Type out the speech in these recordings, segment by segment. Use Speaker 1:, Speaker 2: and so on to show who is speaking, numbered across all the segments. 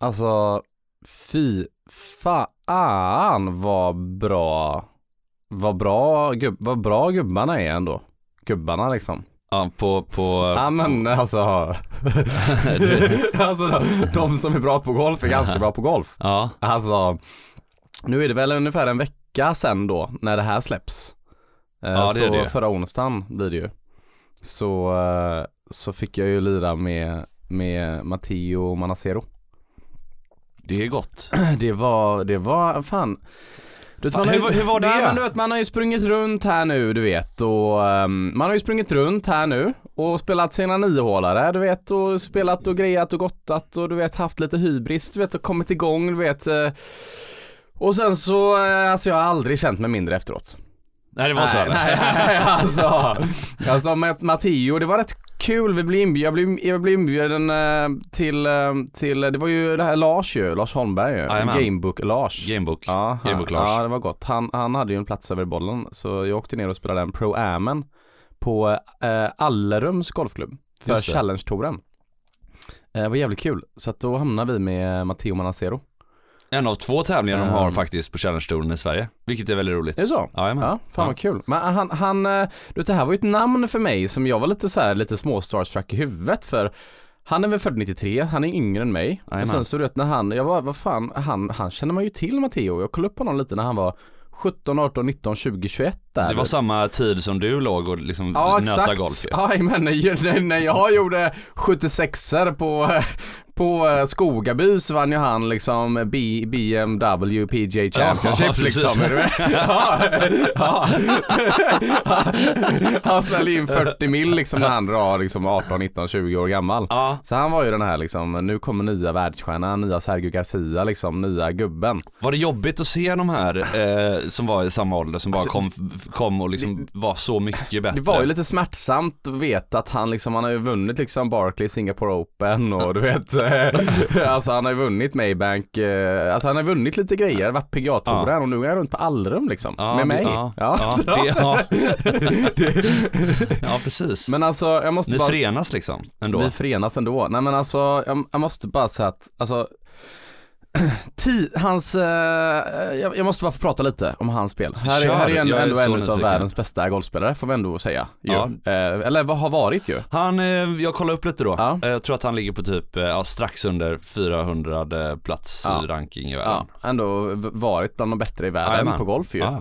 Speaker 1: Alltså, fy fan vad bra, vad bra, gubb, vad bra gubbarna är ändå. Gubbarna liksom.
Speaker 2: Ja, på, på...
Speaker 1: Ja men alltså, alltså de, de som är bra på golf är ganska bra på golf.
Speaker 2: Ja,
Speaker 1: Alltså, nu är det väl ungefär en vecka sen då när det här släpps. Eh,
Speaker 2: Ja, det
Speaker 1: så
Speaker 2: är det.
Speaker 1: förra onsdagen blir det ju. Så, eh, så fick jag ju lira med, med Matteo Manacero.
Speaker 2: det är gott.
Speaker 1: Det var, det var, fan. Du vet,
Speaker 2: Fan,
Speaker 1: har ju-
Speaker 2: hur var- hur var det?
Speaker 1: Nej, men du vet, man har ju sprungit runt här nu, du vet. Och, ehm, man har ju sprungit runt här nu och spelat sina niohålare, du vet. Och spelat och grejat och gottat och du vet haft lite hybris, du vet. Och kommit igång, du vet. eh. Och sen så, eh, alltså jag har aldrig känt mig mindre efteråt.
Speaker 2: Nej det var så
Speaker 1: nej,
Speaker 2: här.
Speaker 1: nej, nej, alltså. Alltså Matt- Matteo, det var rätt kul. Vi blev inbjud, jag, blev, jag blev inbjuden eh, till, eh, till, det var ju det här Lars ju, Lars Holmberg ju.
Speaker 2: Jajamän.
Speaker 1: Gamebook-Lars.
Speaker 2: Gamebook.
Speaker 1: Ja, han-
Speaker 2: Gamebook Lars.
Speaker 1: ja, det var gott. Han, han hade ju en plats över bollen så jag åkte ner och spelade en Pro-Amen på eh, Allerums golfklubb för
Speaker 2: Just det.
Speaker 1: Challenge-touren. Eh, det var jävligt kul. Så att då hamnade vi med Matteo Manacero.
Speaker 2: En av två tävlingar de har
Speaker 1: Ehm.
Speaker 2: faktiskt på Challenge-touren i Sverige. Vilket är väldigt roligt.
Speaker 1: Är det så?
Speaker 2: Jajamän.
Speaker 1: Ja, fan vad kul. Men han, han, eh, du vet det här var ju ett namn för mig som jag var lite så här, lite små starstruck i huvudet för han är väl född 93, han är yngre än mig.
Speaker 2: Jajamän.
Speaker 1: Och sen så du vet när han, jag var, vad fan, han, han känner man ju till Matteo. Jag kollade upp honom lite när han var 17, 18, 19, 20, 21 där.
Speaker 2: Det var samma tid som du låg och liksom
Speaker 1: Ja
Speaker 2: nöta
Speaker 1: exakt.
Speaker 2: golf ju.
Speaker 1: Ja men när, när- när jag gjorde 76er på, på eh, Skogaby så vann ju han liksom B, BMW PGA Championship
Speaker 2: Ja, precis.
Speaker 1: liksom. Är du med? ja, ja. Han smällde in 40 mil liksom när han var liksom 18, 19, 20 år gammal.
Speaker 2: Ja.
Speaker 1: Så han var ju den här liksom, nu kommer nya världsstjärnan, nya Sergio Garcia liksom, nya gubben.
Speaker 2: Var det jobbigt att se de här eh, som var i samma ålder som bara kom, kom och liksom var så mycket bättre?
Speaker 1: Alltså, Det var ju lite smärtsamt att veta att han liksom, han har ju vunnit liksom Barclays Singapore Open och du vet, eh, alltså han har ju vunnit Maybank, eh, alltså han har vunnit lite grejer, varit PGA-touren och nu är han runt på Allrum liksom,
Speaker 2: ja,
Speaker 1: med mig.
Speaker 2: Ja,
Speaker 1: Ja.
Speaker 2: ja. det, ja. ja precis.
Speaker 1: Men alltså jag måste
Speaker 2: Ni
Speaker 1: bara...
Speaker 2: förenas liksom ändå.
Speaker 1: Vi förenas ändå. Nej men alltså, jag, jag måste bara säga att, alltså, ti, hans, eh, jag, jag måste bara få prata lite om hans spel. Här är,
Speaker 2: Kör,
Speaker 1: här är, en,
Speaker 2: jag är
Speaker 1: ändå
Speaker 2: så
Speaker 1: en av
Speaker 2: nyfiken.
Speaker 1: världens bästa golfspelare får vi ändå säga. Ju.
Speaker 2: Ja.
Speaker 1: Eh, eller vad har varit ju.
Speaker 2: Han, eh, jag kollade upp lite då.
Speaker 1: Ja.
Speaker 2: Eh, Jag tror att han ligger på typ, eh, ja, strax under 400 plats
Speaker 1: Ja.
Speaker 2: i ranking i
Speaker 1: Ja,
Speaker 2: världen.
Speaker 1: ändå v- varit bland de bättre i världen
Speaker 2: Jajamän.
Speaker 1: på golf ju.
Speaker 2: Ja.
Speaker 1: eh,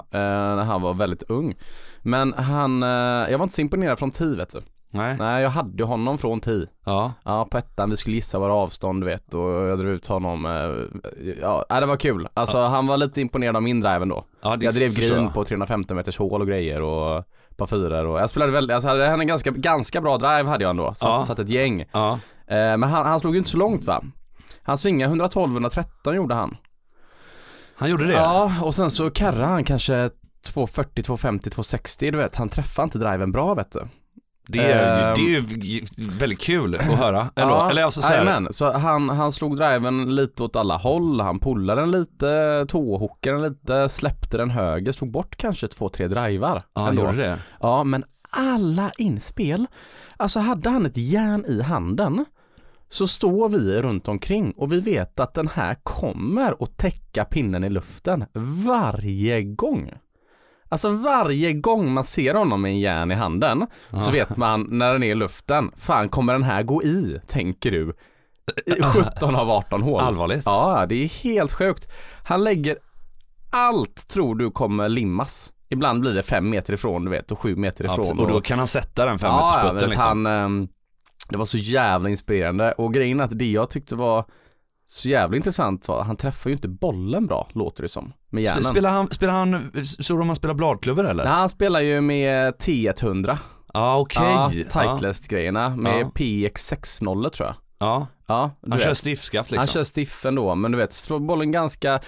Speaker 1: När han var väldigt ung. Men han, eh, jag var inte så imponerad från tee vet du.
Speaker 2: Nej.
Speaker 1: Nej jag hade ju honom från tee.
Speaker 2: Ja.
Speaker 1: Ja på ettan, vi skulle gissa våra avstånd du vet och jag drev ut honom. eh, Ja nej, det var kul. Alltså han var lite imponerad av min drive ändå.
Speaker 2: ja det
Speaker 1: Jag drev
Speaker 2: förstår
Speaker 1: green
Speaker 2: jag.
Speaker 1: på 350 meters hål och grejer och par fyror och jag spelade väldigt, alltså hade en ganska, ganska bra drive hade jag ändå. Satt,
Speaker 2: Ja.
Speaker 1: satt ett gäng. Eh,
Speaker 2: Ja.
Speaker 1: men han, han slog ju inte så långt va. Han svingade 112-113 gjorde han.
Speaker 2: Han gjorde det?
Speaker 1: Ja, och sen så karrar han kanske 240, 250, 260, du vet. Han träffar inte driven bra vet du.
Speaker 2: Det, är,
Speaker 1: Ehm.
Speaker 2: det är ju väldigt kul att höra. Eller,
Speaker 1: ja,
Speaker 2: eller alltså så här,
Speaker 1: jajamän. så han, han slog driven lite åt alla håll, han pullade den lite, tåhookade den lite, släppte den höger, slog bort kanske två, tre drivar.
Speaker 2: ja, han
Speaker 1: ändå.
Speaker 2: gjorde det.
Speaker 1: Ja, men alla inspel, alltså hade han ett järn i handen så står vi runt omkring och vi vet att den här kommer att täcka pinnen i luften varje gång. Alltså varje gång man ser honom med en järn i handen så vet man när den är i luften, fan kommer den här gå i, tänker du. I 17 av 18 hål.
Speaker 2: Allvarligt.
Speaker 1: Ja, det är helt sjukt. Han lägger allt tror du kommer limmas. Ibland blir det fem meter ifrån du vet och sju meter
Speaker 2: Ja,
Speaker 1: ifrån.
Speaker 2: och då kan han sätta den
Speaker 1: ja, ja,
Speaker 2: femmetersputten
Speaker 1: men han,
Speaker 2: liksom.
Speaker 1: ehm, Det var så jävla inspirerande och grejen är att det jag tyckte var så jävla intressant var han träffar ju inte bollen bra låter det som med
Speaker 2: Sp-
Speaker 1: hjärnan.
Speaker 2: Spelar han, spelar han, såg du om han spelar bladklubbor eller?
Speaker 1: Nej han spelar ju med T100,
Speaker 2: Ja okej.
Speaker 1: ja,
Speaker 2: ja,
Speaker 1: Titleist grejerna med
Speaker 2: Ja.
Speaker 1: PX60 tror jag.
Speaker 2: ja.
Speaker 1: Ja, du
Speaker 2: Han
Speaker 1: vet.
Speaker 2: kör stiffskaft liksom.
Speaker 1: Han kör stiff ändå, men du vet, slår bollen ganska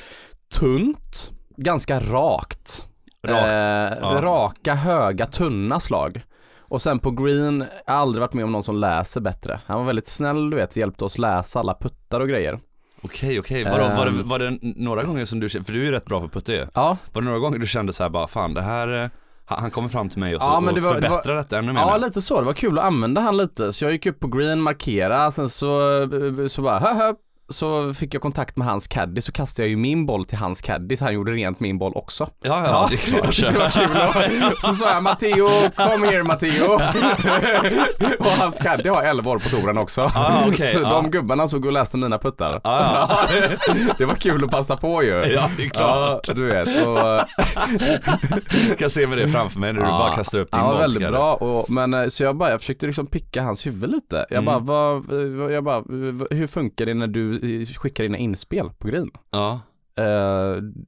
Speaker 1: tunt, ganska rakt.
Speaker 2: Rakt.
Speaker 1: Eh,
Speaker 2: ja.
Speaker 1: Raka, höga, tunna slag. Och sen på green, jag har aldrig varit med om någon som läser bättre. Han var väldigt snäll du vet, hjälpte oss läsa alla puttar och grejer.
Speaker 2: Okej okej, Vadå, var, det,
Speaker 1: Ehm.
Speaker 2: var det några gånger som du kände, för du är ju rätt bra på putte ju.
Speaker 1: Ja,
Speaker 2: Var det några gånger du kände så här bara fan det här, eh, han han kommer fram till mig och, så,
Speaker 1: Ja, men
Speaker 2: och
Speaker 1: det var- det var-
Speaker 2: förbättrar detta ännu mer
Speaker 1: ja
Speaker 2: nu.
Speaker 1: lite så. Det var kul att använda han lite. Så jag gick upp på green, markera, sen så, så bara höhö. så fick jag kontakt med hans caddy så kastade jag ju min boll till hans caddy så han gjorde rent min boll också.
Speaker 2: Ja, ja, det är klart.
Speaker 1: Det var kul. Och så sa jag Matteo, kom här Matteo. och hans caddy har 11 år på touren också.
Speaker 2: Ah, okej,
Speaker 1: så de
Speaker 2: ah.
Speaker 1: gubbarna såg och läste mina puttar.
Speaker 2: Ja, ja.
Speaker 1: Det var kul att passa på ju.
Speaker 2: ja, det är klart.
Speaker 1: Ja, du vet. Och,
Speaker 2: Jag kan se med det framför mig när du
Speaker 1: Ja,
Speaker 2: bara kastar upp din
Speaker 1: Han var
Speaker 2: boll.
Speaker 1: väldigt
Speaker 2: tycker jag.
Speaker 1: bra och, men eh, så jag bara, jag försökte liksom picka hans huvud lite.
Speaker 2: Mm.
Speaker 1: Jag bara, vad, eh, vad- jag bara, v- hur funkar det när du eh, skickar dina inspel på green?
Speaker 2: Ja.
Speaker 1: Eh,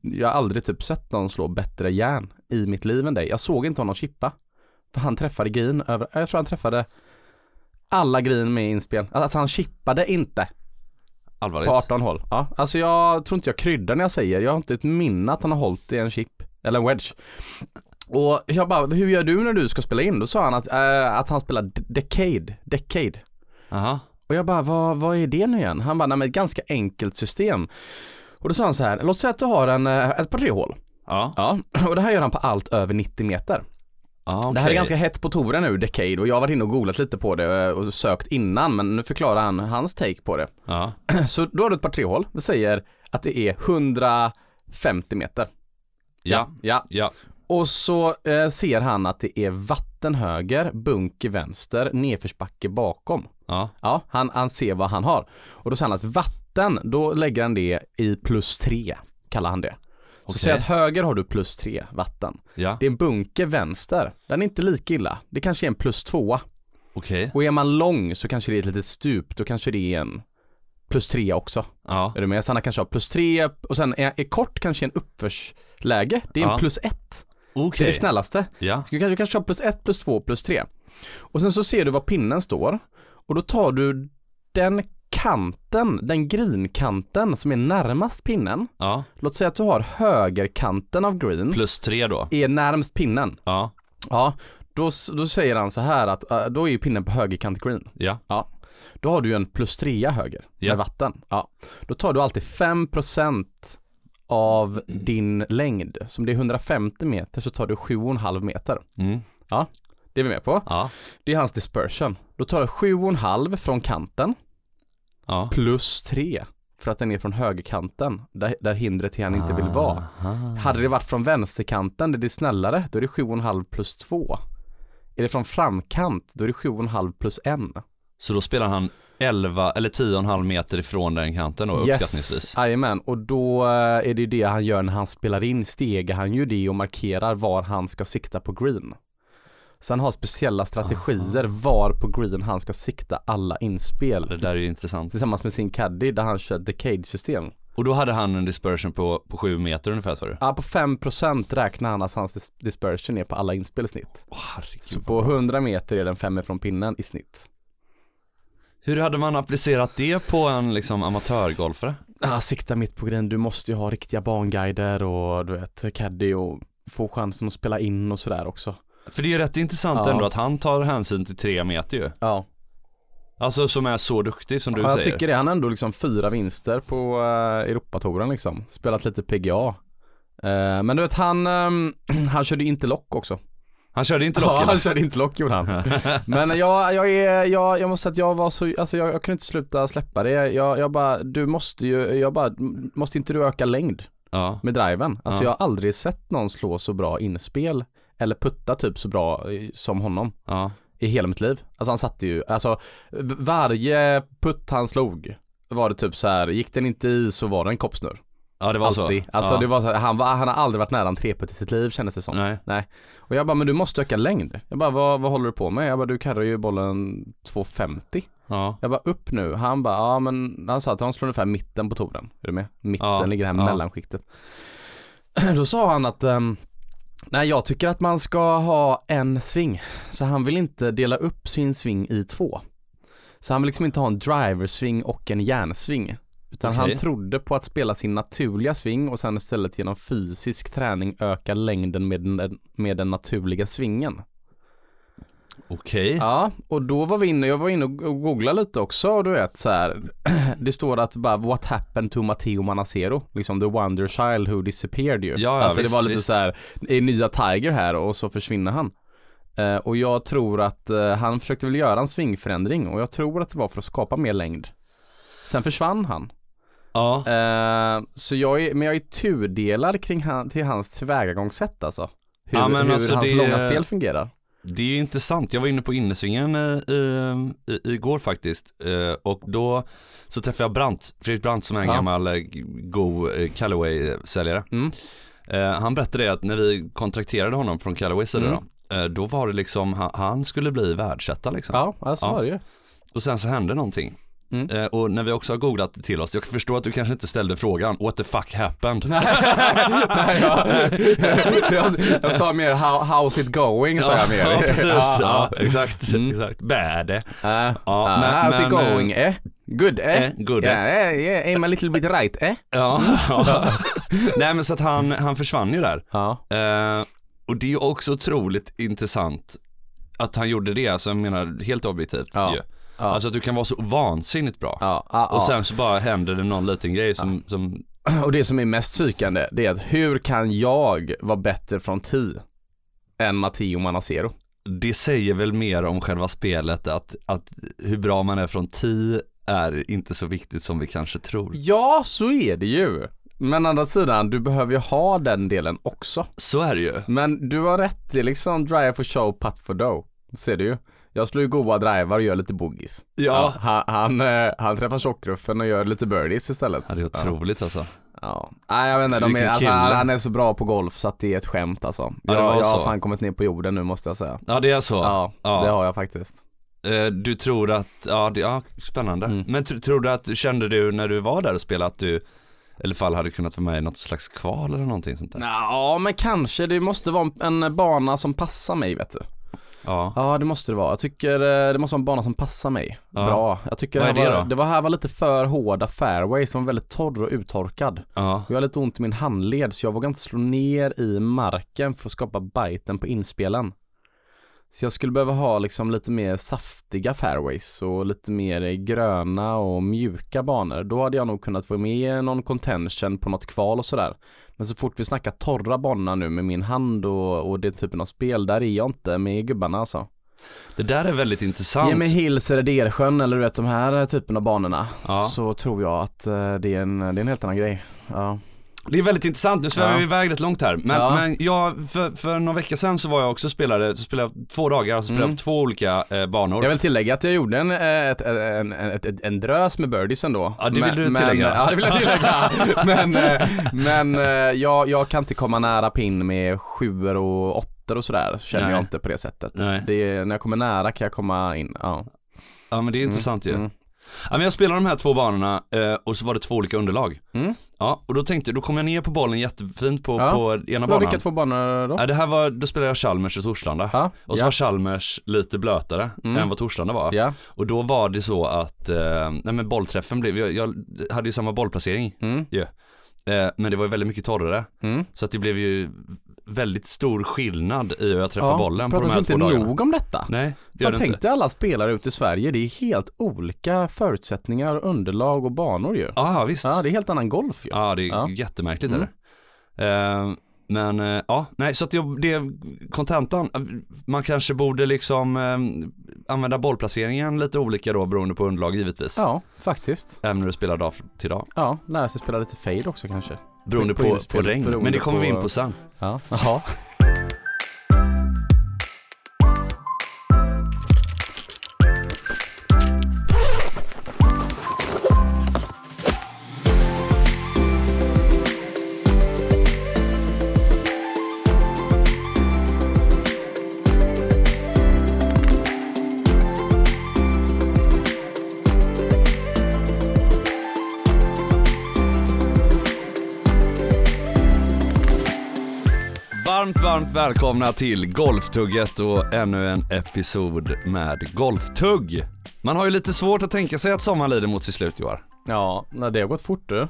Speaker 1: jag har aldrig typ sett någon slå bättre järn i mitt liv än dig. Jag såg inte honom chippa. För han träffade green över, eh, jag tror han träffade alla green med inspel. Alltså han chippade inte
Speaker 2: Allvarligt.
Speaker 1: på 18 hål. Ja, alltså jag tror inte jag kryddar när jag säger, jag har inte ett minne att han har hållit i en chip, eller en wedge. Och jag bara, hur gör du när du ska spela in? Då sa han att, eh, att han spelar d- decade, decade.
Speaker 2: Aha.
Speaker 1: Och jag bara, vad, vad är det nu igen? Han bara, nej men ett ganska enkelt system. Och då sa han så här, låt säga att du har en, eh, ett par tre hål.
Speaker 2: Ja.
Speaker 1: Ja, och det här gör han på allt över 90 meter.
Speaker 2: ja
Speaker 1: Det här är
Speaker 2: okej.
Speaker 1: ganska hett på touren nu, Decade, och jag har varit inne och googlat lite på det eh, och sökt innan, men nu förklarar han hans take på det.
Speaker 2: Ja.
Speaker 1: Så då har du ett par trehål. Vi säger att det är 150 meter.
Speaker 2: Ja.
Speaker 1: Ja.
Speaker 2: Ja.
Speaker 1: Och så eh, ser han att det är vatten höger, bunker vänster, nedförsbacke bakom.
Speaker 2: Ja.
Speaker 1: Ja, han, han ser vad han har. Och då säger han att vatten, då lägger han det i plus tre, kallar han det. Så
Speaker 2: Okej.
Speaker 1: säg att höger har du plus tre vatten.
Speaker 2: Ja.
Speaker 1: Det är en bunker vänster. Den är inte lika illa. Det kanske är en plus tvåa.
Speaker 2: Okej.
Speaker 1: Och är man lång så kanske det är ett litet stup. Då kanske det är en plus tre också.
Speaker 2: Ja.
Speaker 1: Är du med? Så han kanske har plus tre och sen är, är kort kanske en uppförsläge. Det är en
Speaker 2: Ja.
Speaker 1: plus ett. Det är
Speaker 2: Okej.
Speaker 1: det snällaste.
Speaker 2: Ja.
Speaker 1: Så du kanske, du kanske har plus ett, plus två, plus tre. Och sen så ser du var pinnen står och då tar du den kanten, den greenkanten som är närmast pinnen.
Speaker 2: Ja.
Speaker 1: Låt säga att du har högerkanten av green
Speaker 2: Plus tre då.
Speaker 1: är närmst pinnen.
Speaker 2: Ja.
Speaker 1: Ja, då, s- då säger han så här att eh, då är ju pinnen på högerkant green.
Speaker 2: Ja.
Speaker 1: Ja. Då har du ju en plus trea höger
Speaker 2: Ja.
Speaker 1: med vatten. Ja. Då tar du alltid 5% av din längd. Så om det är 150 meter så tar du 7,5 meter.
Speaker 2: Mm.
Speaker 1: Ja, det är vi med på.
Speaker 2: Ja.
Speaker 1: Det är hans dispersion. Då tar du 7,5 från kanten
Speaker 2: Ja.
Speaker 1: plus 3 för att den är från högerkanten där, där hindret till han inte vill vara.
Speaker 2: Aha.
Speaker 1: Hade det varit från vänsterkanten där det är snällare, då är det 7,5 plus 2. Är det från framkant, då är det 7,5 plus 1.
Speaker 2: Så då spelar han 11 eller 10,5 meter ifrån den kanten då uppskattningsvis.
Speaker 1: jajamän. Och då eh, är det ju det han gör när han spelar in, stegar han ju det och markerar var han ska sikta på green. Så han har speciella strategier var på green han ska sikta alla inspel.
Speaker 2: Det där är ju intressant.
Speaker 1: Tillsammans med sin caddy där han kör decade-system.
Speaker 2: Och då hade han en dispersion på, på 7 meter ungefär sa du?
Speaker 1: Ja, på 5% räknar han att hans dis- dispersion är på alla inspel i snitt.
Speaker 2: Åh, herregud.
Speaker 1: Så på 100 meter är den fem från pinnen i snitt.
Speaker 2: Hur hade man applicerat det på en liksom amatörgolfare?
Speaker 1: Ah, sikta mitt på green, du måste ju ha riktiga banguider och du vet caddy och få chansen att spela in och sådär också.
Speaker 2: För det är ju rätt intressant
Speaker 1: Ja.
Speaker 2: ändå att han tar hänsyn till 3 meter ju.
Speaker 1: Ja,
Speaker 2: Alltså som är så duktig som du
Speaker 1: ja jag
Speaker 2: säger.
Speaker 1: tycker det. Han har ändå liksom fyra vinster på uh, Europatouren liksom. Spelat lite PGA. Eh, men du vet han, ehm, han körde ju inte lock också.
Speaker 2: Han körde inte
Speaker 1: Ja,
Speaker 2: locken.
Speaker 1: han körde inte lock gjorde han. Men jag, jag, är, jag, jag måste säga att jag var så, alltså jag, jag kunde inte sluta släppa det. Jag, jag bara, du måste ju, jag bara, måste inte du öka längd?
Speaker 2: Ja.
Speaker 1: med driven. Alltså jag
Speaker 2: Ja.
Speaker 1: har aldrig sett någon slå så bra inspel eller putta typ så bra eh, som honom
Speaker 2: ja.
Speaker 1: i hela mitt liv. Alltså han satte ju, alltså v- varje putt han slog var det typ så här, gick den inte i så var det en koppsnurr.
Speaker 2: Ja det var
Speaker 1: Alltid.
Speaker 2: så.
Speaker 1: Alltså
Speaker 2: ja.
Speaker 1: det var så här, han, var, han har aldrig varit nära en treputt i sitt liv kändes det som.
Speaker 2: Nej.
Speaker 1: Och jag bara, men du måste öka längd. Jag bara, vad, vad håller du på med? Jag bara, du karrar ju bollen 250.
Speaker 2: Ja.
Speaker 1: Jag bara, upp nu. Han bara, ja men han sa att han slår ungefär mitten på touren. Är du med? Mitten
Speaker 2: Ja,
Speaker 1: ligger här
Speaker 2: ja.
Speaker 1: mellanskiktet. Då sa han att, ehm, nej jag tycker att man ska ha en sving. Så han vill inte dela upp sin sving i två. Så han vill liksom inte ha en driversving och en järnsving. Utan
Speaker 2: Okej.
Speaker 1: han trodde på att spela sin naturliga sving och sen istället genom fysisk träning öka längden med den, med den naturliga svingen.
Speaker 2: Okej.
Speaker 1: Ja, och då var vi inne, jag var inne och och googlade lite också och du vet så här. Det står att bara what happened to Matteo Manacero? Liksom the wonder child who disappeared ju.
Speaker 2: Ja, ja,
Speaker 1: alltså
Speaker 2: visst,
Speaker 1: det var lite
Speaker 2: visst.
Speaker 1: så här, är nya Tiger här och så försvinner han. Eh, och jag tror att eh, han försökte väl göra en svingförändring och jag tror att det var för att skapa mer längd. Sen försvann han.
Speaker 2: Ja.
Speaker 1: Eh, så jag är, men jag är tudelad kring han, till hans tillvägagångssätt alltså. Hur,
Speaker 2: Ja, men
Speaker 1: hur
Speaker 2: alltså,
Speaker 1: hans
Speaker 2: det-
Speaker 1: långa spel fungerar.
Speaker 2: Det är ju intressant. Jag var inne på innesvingen eh, i- i- igår faktiskt eh, och då så träffade jag Brandt, Fredrik Brandt som är en
Speaker 1: Ja.
Speaker 2: gammal eh, g- go eh, Callaway-säljare.
Speaker 1: Mm.
Speaker 2: Eh, han berättade det att när vi kontrakterade honom från Callaways sida
Speaker 1: Mm.
Speaker 2: då, eh, då var det liksom, han, han skulle bli världsetta liksom.
Speaker 1: Ja, ja så
Speaker 2: Ja.
Speaker 1: var det ju.
Speaker 2: Och sen så hände någonting.
Speaker 1: Mm.
Speaker 2: Eh, och när vi också har googlat det till oss, jag förstår att du kanske inte ställde frågan, what the fuck happened?
Speaker 1: Nej, jag, jag, jag sa mer how, how's it going sa jag mer.
Speaker 2: ja, precis. Ja,
Speaker 1: ja.
Speaker 2: exakt.
Speaker 1: Mm.
Speaker 2: exakt. Bäde.
Speaker 1: Ah,
Speaker 2: Ja,
Speaker 1: ah,
Speaker 2: men-
Speaker 1: how's it
Speaker 2: men, eh,
Speaker 1: going? Eh? Good eh?
Speaker 2: Eh, good, eh.
Speaker 1: Yeah, eh, yeah, aim a little bit right eh?
Speaker 2: Ja. Nej men så att han, han försvann ju där.
Speaker 1: Ja,
Speaker 2: Eh, och det är ju också otroligt intressant att han gjorde det, alltså jag menar helt objektivt
Speaker 1: Ja.
Speaker 2: ju.
Speaker 1: Ja.
Speaker 2: Alltså att du kan vara så vansinnigt bra.
Speaker 1: ja, ja, ja.
Speaker 2: Och sen så bara händer det någon liten grej som, som
Speaker 1: ah. Och det som är mest psykande, det är att hur kan jag vara bättre från 10 än Matteo Manacero?
Speaker 2: det säger väl mer om själva spelet att, att hur bra man är från 10 är inte så viktigt som vi kanske tror.
Speaker 1: Ja, så är det ju. Men å andra sidan, du behöver ju ha den delen också.
Speaker 2: Så är det ju.
Speaker 1: Men du har rätt, det är liksom drive for show, putt for dough. Ser du ju. Jag slår ju goa drivar och gör lite boogies.
Speaker 2: Ja.
Speaker 1: Han, han, eh, han träffar tjockruffen och gör lite birdies istället.
Speaker 2: Ja, det är otroligt alltså.
Speaker 1: Ja. Nej jag vet inte, de är,
Speaker 2: Vilken
Speaker 1: alltså,
Speaker 2: kille.
Speaker 1: han, han är så bra på golf så att det är ett skämt alltså.
Speaker 2: Ja, det
Speaker 1: jag,
Speaker 2: var
Speaker 1: jag har
Speaker 2: så.
Speaker 1: fan kommit ner på jorden nu måste jag säga.
Speaker 2: Ja, det är så.
Speaker 1: Ja,
Speaker 2: Ja.
Speaker 1: det har jag faktiskt.
Speaker 2: Eh, Du tror att, ja, det, ja spännande.
Speaker 1: Mm.
Speaker 2: Men tr- tror du att, kände du när du var där och spelade att du i alla fall hade kunnat vara med i något slags kval eller någonting sånt där?
Speaker 1: Ja men kanske, det måste vara en en bana som passar mig vet du.
Speaker 2: Ja.
Speaker 1: Ja det måste det vara. Jag tycker eh, det måste vara en bana som passar mig.
Speaker 2: Ja.
Speaker 1: Bra. Jag tycker
Speaker 2: Vad är
Speaker 1: här
Speaker 2: det
Speaker 1: var,
Speaker 2: då?
Speaker 1: det var här var lite för hårda fairways, som var väldigt torr och uttorkad.
Speaker 2: Ja.
Speaker 1: Och jag har lite ont i min handled så jag vågar inte slå ner i marken för att skapa biten på inspelen. Så jag skulle behöva ha liksom lite mer saftiga fairways och lite mer eh, gröna och mjuka banor. Då hade jag nog kunnat få med någon contention på något kval och sådär. Men så fort vi snackar torra banor nu med min hand och, och det typen av spel, där är jag inte med gubbarna alltså.
Speaker 2: Det där är väldigt intressant.
Speaker 1: Ge mig Hills eller Delsjön eller du vet de här typen av banorna.
Speaker 2: Ja.
Speaker 1: Så tror jag att eh, det är en, det är en helt annan grej. Ja.
Speaker 2: Det är väldigt intressant, nu svävar
Speaker 1: Ja.
Speaker 2: vi iväg rätt långt här. Men,
Speaker 1: Ja.
Speaker 2: men jag, för, för några veckor sedan så var jag också spelare, så spelade jag två dagar, så spelade
Speaker 1: Mm.
Speaker 2: jag på två olika eh, banor.
Speaker 1: Jag vill tillägga att jag gjorde en, eh, ett, en, en, ett- en drös med birdies ändå.
Speaker 2: Ja, det vill
Speaker 1: Men-
Speaker 2: du tillägga.
Speaker 1: Men, ja, det vill jag tillägga. men eh, men eh, jag, jag kan inte komma nära pin med sjuor och åttor och sådär, känner
Speaker 2: Nej.
Speaker 1: jag inte på det sättet.
Speaker 2: Nej.
Speaker 1: Det, är- när jag kommer nära kan jag komma in, ja.
Speaker 2: Ja men det är intressant ju.
Speaker 1: mm.
Speaker 2: Ja, men jag spelade de här två banorna eh, och så var det två olika underlag.
Speaker 1: Mm.
Speaker 2: Ja, och då tänkte jag, då kom jag ner på bollen jättefint på,
Speaker 1: Ja.
Speaker 2: på ena
Speaker 1: Bra,
Speaker 2: banan.
Speaker 1: vilka två banor då?
Speaker 2: Ja, det här var, då spelade jag Chalmers och Torslanda.
Speaker 1: Ja,
Speaker 2: Och så
Speaker 1: ja,
Speaker 2: var Chalmers lite blötare
Speaker 1: Mm.
Speaker 2: än vad Torslanda var.
Speaker 1: ja.
Speaker 2: Och då var det så att, eh, nej men bollträffen blev, jag, jag hade ju samma bollplacering
Speaker 1: Mm,
Speaker 2: ju. Eh, men det var ju väldigt mycket torrare.
Speaker 1: mm.
Speaker 2: Så att det blev ju väldigt stor skillnad i hur jag träffade
Speaker 1: Ja,
Speaker 2: bollen på de
Speaker 1: pratas
Speaker 2: här
Speaker 1: inte
Speaker 2: två dagarna.
Speaker 1: nog om detta.
Speaker 2: Nej, det gör
Speaker 1: Jag
Speaker 2: det inte.
Speaker 1: tänkte alla spelare ute i Sverige, det är helt olika förutsättningar, underlag och banor ju.
Speaker 2: Ja, visst.
Speaker 1: Ja, det är helt annan golf ju.
Speaker 2: Ja, det är
Speaker 1: Ja.
Speaker 2: jättemärkligt
Speaker 1: Mm.
Speaker 2: är det. Eh, men eh, ja, nej så att jag, det är kontentan, eh, man kanske borde liksom eh, använda bollplaceringen lite olika då beroende på underlag givetvis.
Speaker 1: Ja, faktiskt.
Speaker 2: Även när du spelar dag till dag.
Speaker 1: Ja, lära sig spela lite fade också kanske.
Speaker 2: Beroende
Speaker 1: På
Speaker 2: på, på,
Speaker 1: inspel,
Speaker 2: regn,
Speaker 1: beroende
Speaker 2: men det kommer vi in
Speaker 1: på-
Speaker 2: på sen.
Speaker 1: Ja, jaha.
Speaker 2: Varmt, varmt välkomna till Golftugget och ännu en episod med Golftugg. Man har ju lite svårt att tänka sig att sommaren lider mot sitt slut Joar.
Speaker 1: Ja, nej, det har gått fort du.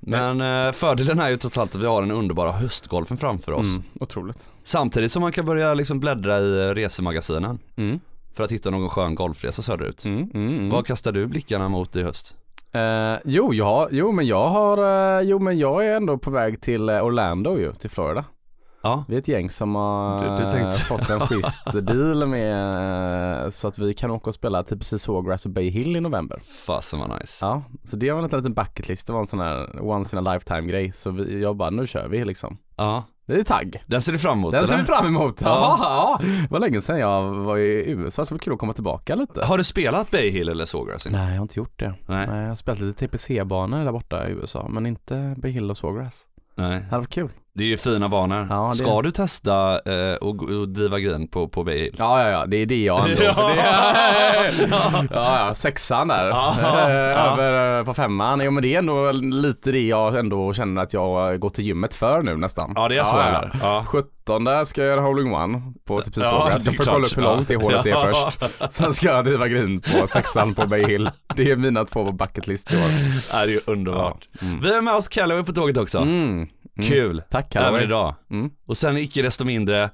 Speaker 2: Men eh, fördelen är ju trots allt att vi har den underbara höstgolfen framför oss.
Speaker 1: Mm, otroligt.
Speaker 2: Samtidigt som man kan börja liksom bläddra i eh, resemagasinen
Speaker 1: Mm,
Speaker 2: för att hitta någon skön golfresa söderut.
Speaker 1: mm, mm, mm.
Speaker 2: Vad kastar du blickarna mot i höst?
Speaker 1: Eh, jo, ja, jo, men jag har, eh, jo, men jag är ändå på väg till eh, Orlando ju, till Florida.
Speaker 2: Ja,
Speaker 1: Vi är ett gäng som har eh,
Speaker 2: Du- du tänkte-
Speaker 1: fått en schysst deal med eh, så att vi kan åka och spela typ precis Sawgrass och Bay Hill i november.
Speaker 2: fasen vad nice.
Speaker 1: Ja, så det var en liten bucketlist. Det var en sån här once in a lifetime grej. Så vi, jag bara, nu kör vi liksom.
Speaker 2: Ja,
Speaker 1: Det är tagg.
Speaker 2: den ser du fram emot
Speaker 1: Den ser
Speaker 2: eller?
Speaker 1: vi fram emot. Ja.
Speaker 2: Ja.
Speaker 1: Ja, det var länge sedan jag var i USA så det var kul att komma tillbaka lite.
Speaker 2: Har du spelat Bay Hill eller Sawgrass? innan?
Speaker 1: Nej, jag har inte gjort det.
Speaker 2: Nej.
Speaker 1: Nej, jag har spelat lite TPC-banor där borta i USA, men inte Bay Hill och Sawgrass.
Speaker 2: Nej.
Speaker 1: Det hade varit kul.
Speaker 2: Det är ju fina banor.
Speaker 1: Ja, det-
Speaker 2: Ska du testa eh, och, och driva grin på, på Bay Hill?
Speaker 1: Ja, ja, ja, det är det jag ändå. för det är... ja, ja, sexan där.
Speaker 2: Ja,
Speaker 1: Eh,
Speaker 2: ja.
Speaker 1: Över eh, på femman. Jo, men det är ändå lite det jag ändå känner att jag går till gymmet för nu nästan.
Speaker 2: Ja, det är så eller? Ja.
Speaker 1: 17 där ska jag göra holding one på typ
Speaker 2: Ja,
Speaker 1: ja,
Speaker 2: det är
Speaker 1: Jag får
Speaker 2: klart.
Speaker 1: kolla upp hur långt det hålet är
Speaker 2: Ja.
Speaker 1: först. Sen ska jag driva green på sexan på Bay Hill. Det är mina två på bucketlist i år.
Speaker 2: Ja, det är ju underbart. Vi har med oss Calloway på tåget också.
Speaker 1: Mm.
Speaker 2: Kul.
Speaker 1: Tack
Speaker 2: Även
Speaker 1: Halloween.
Speaker 2: idag.
Speaker 1: Mm.
Speaker 2: Och sen icke desto mindre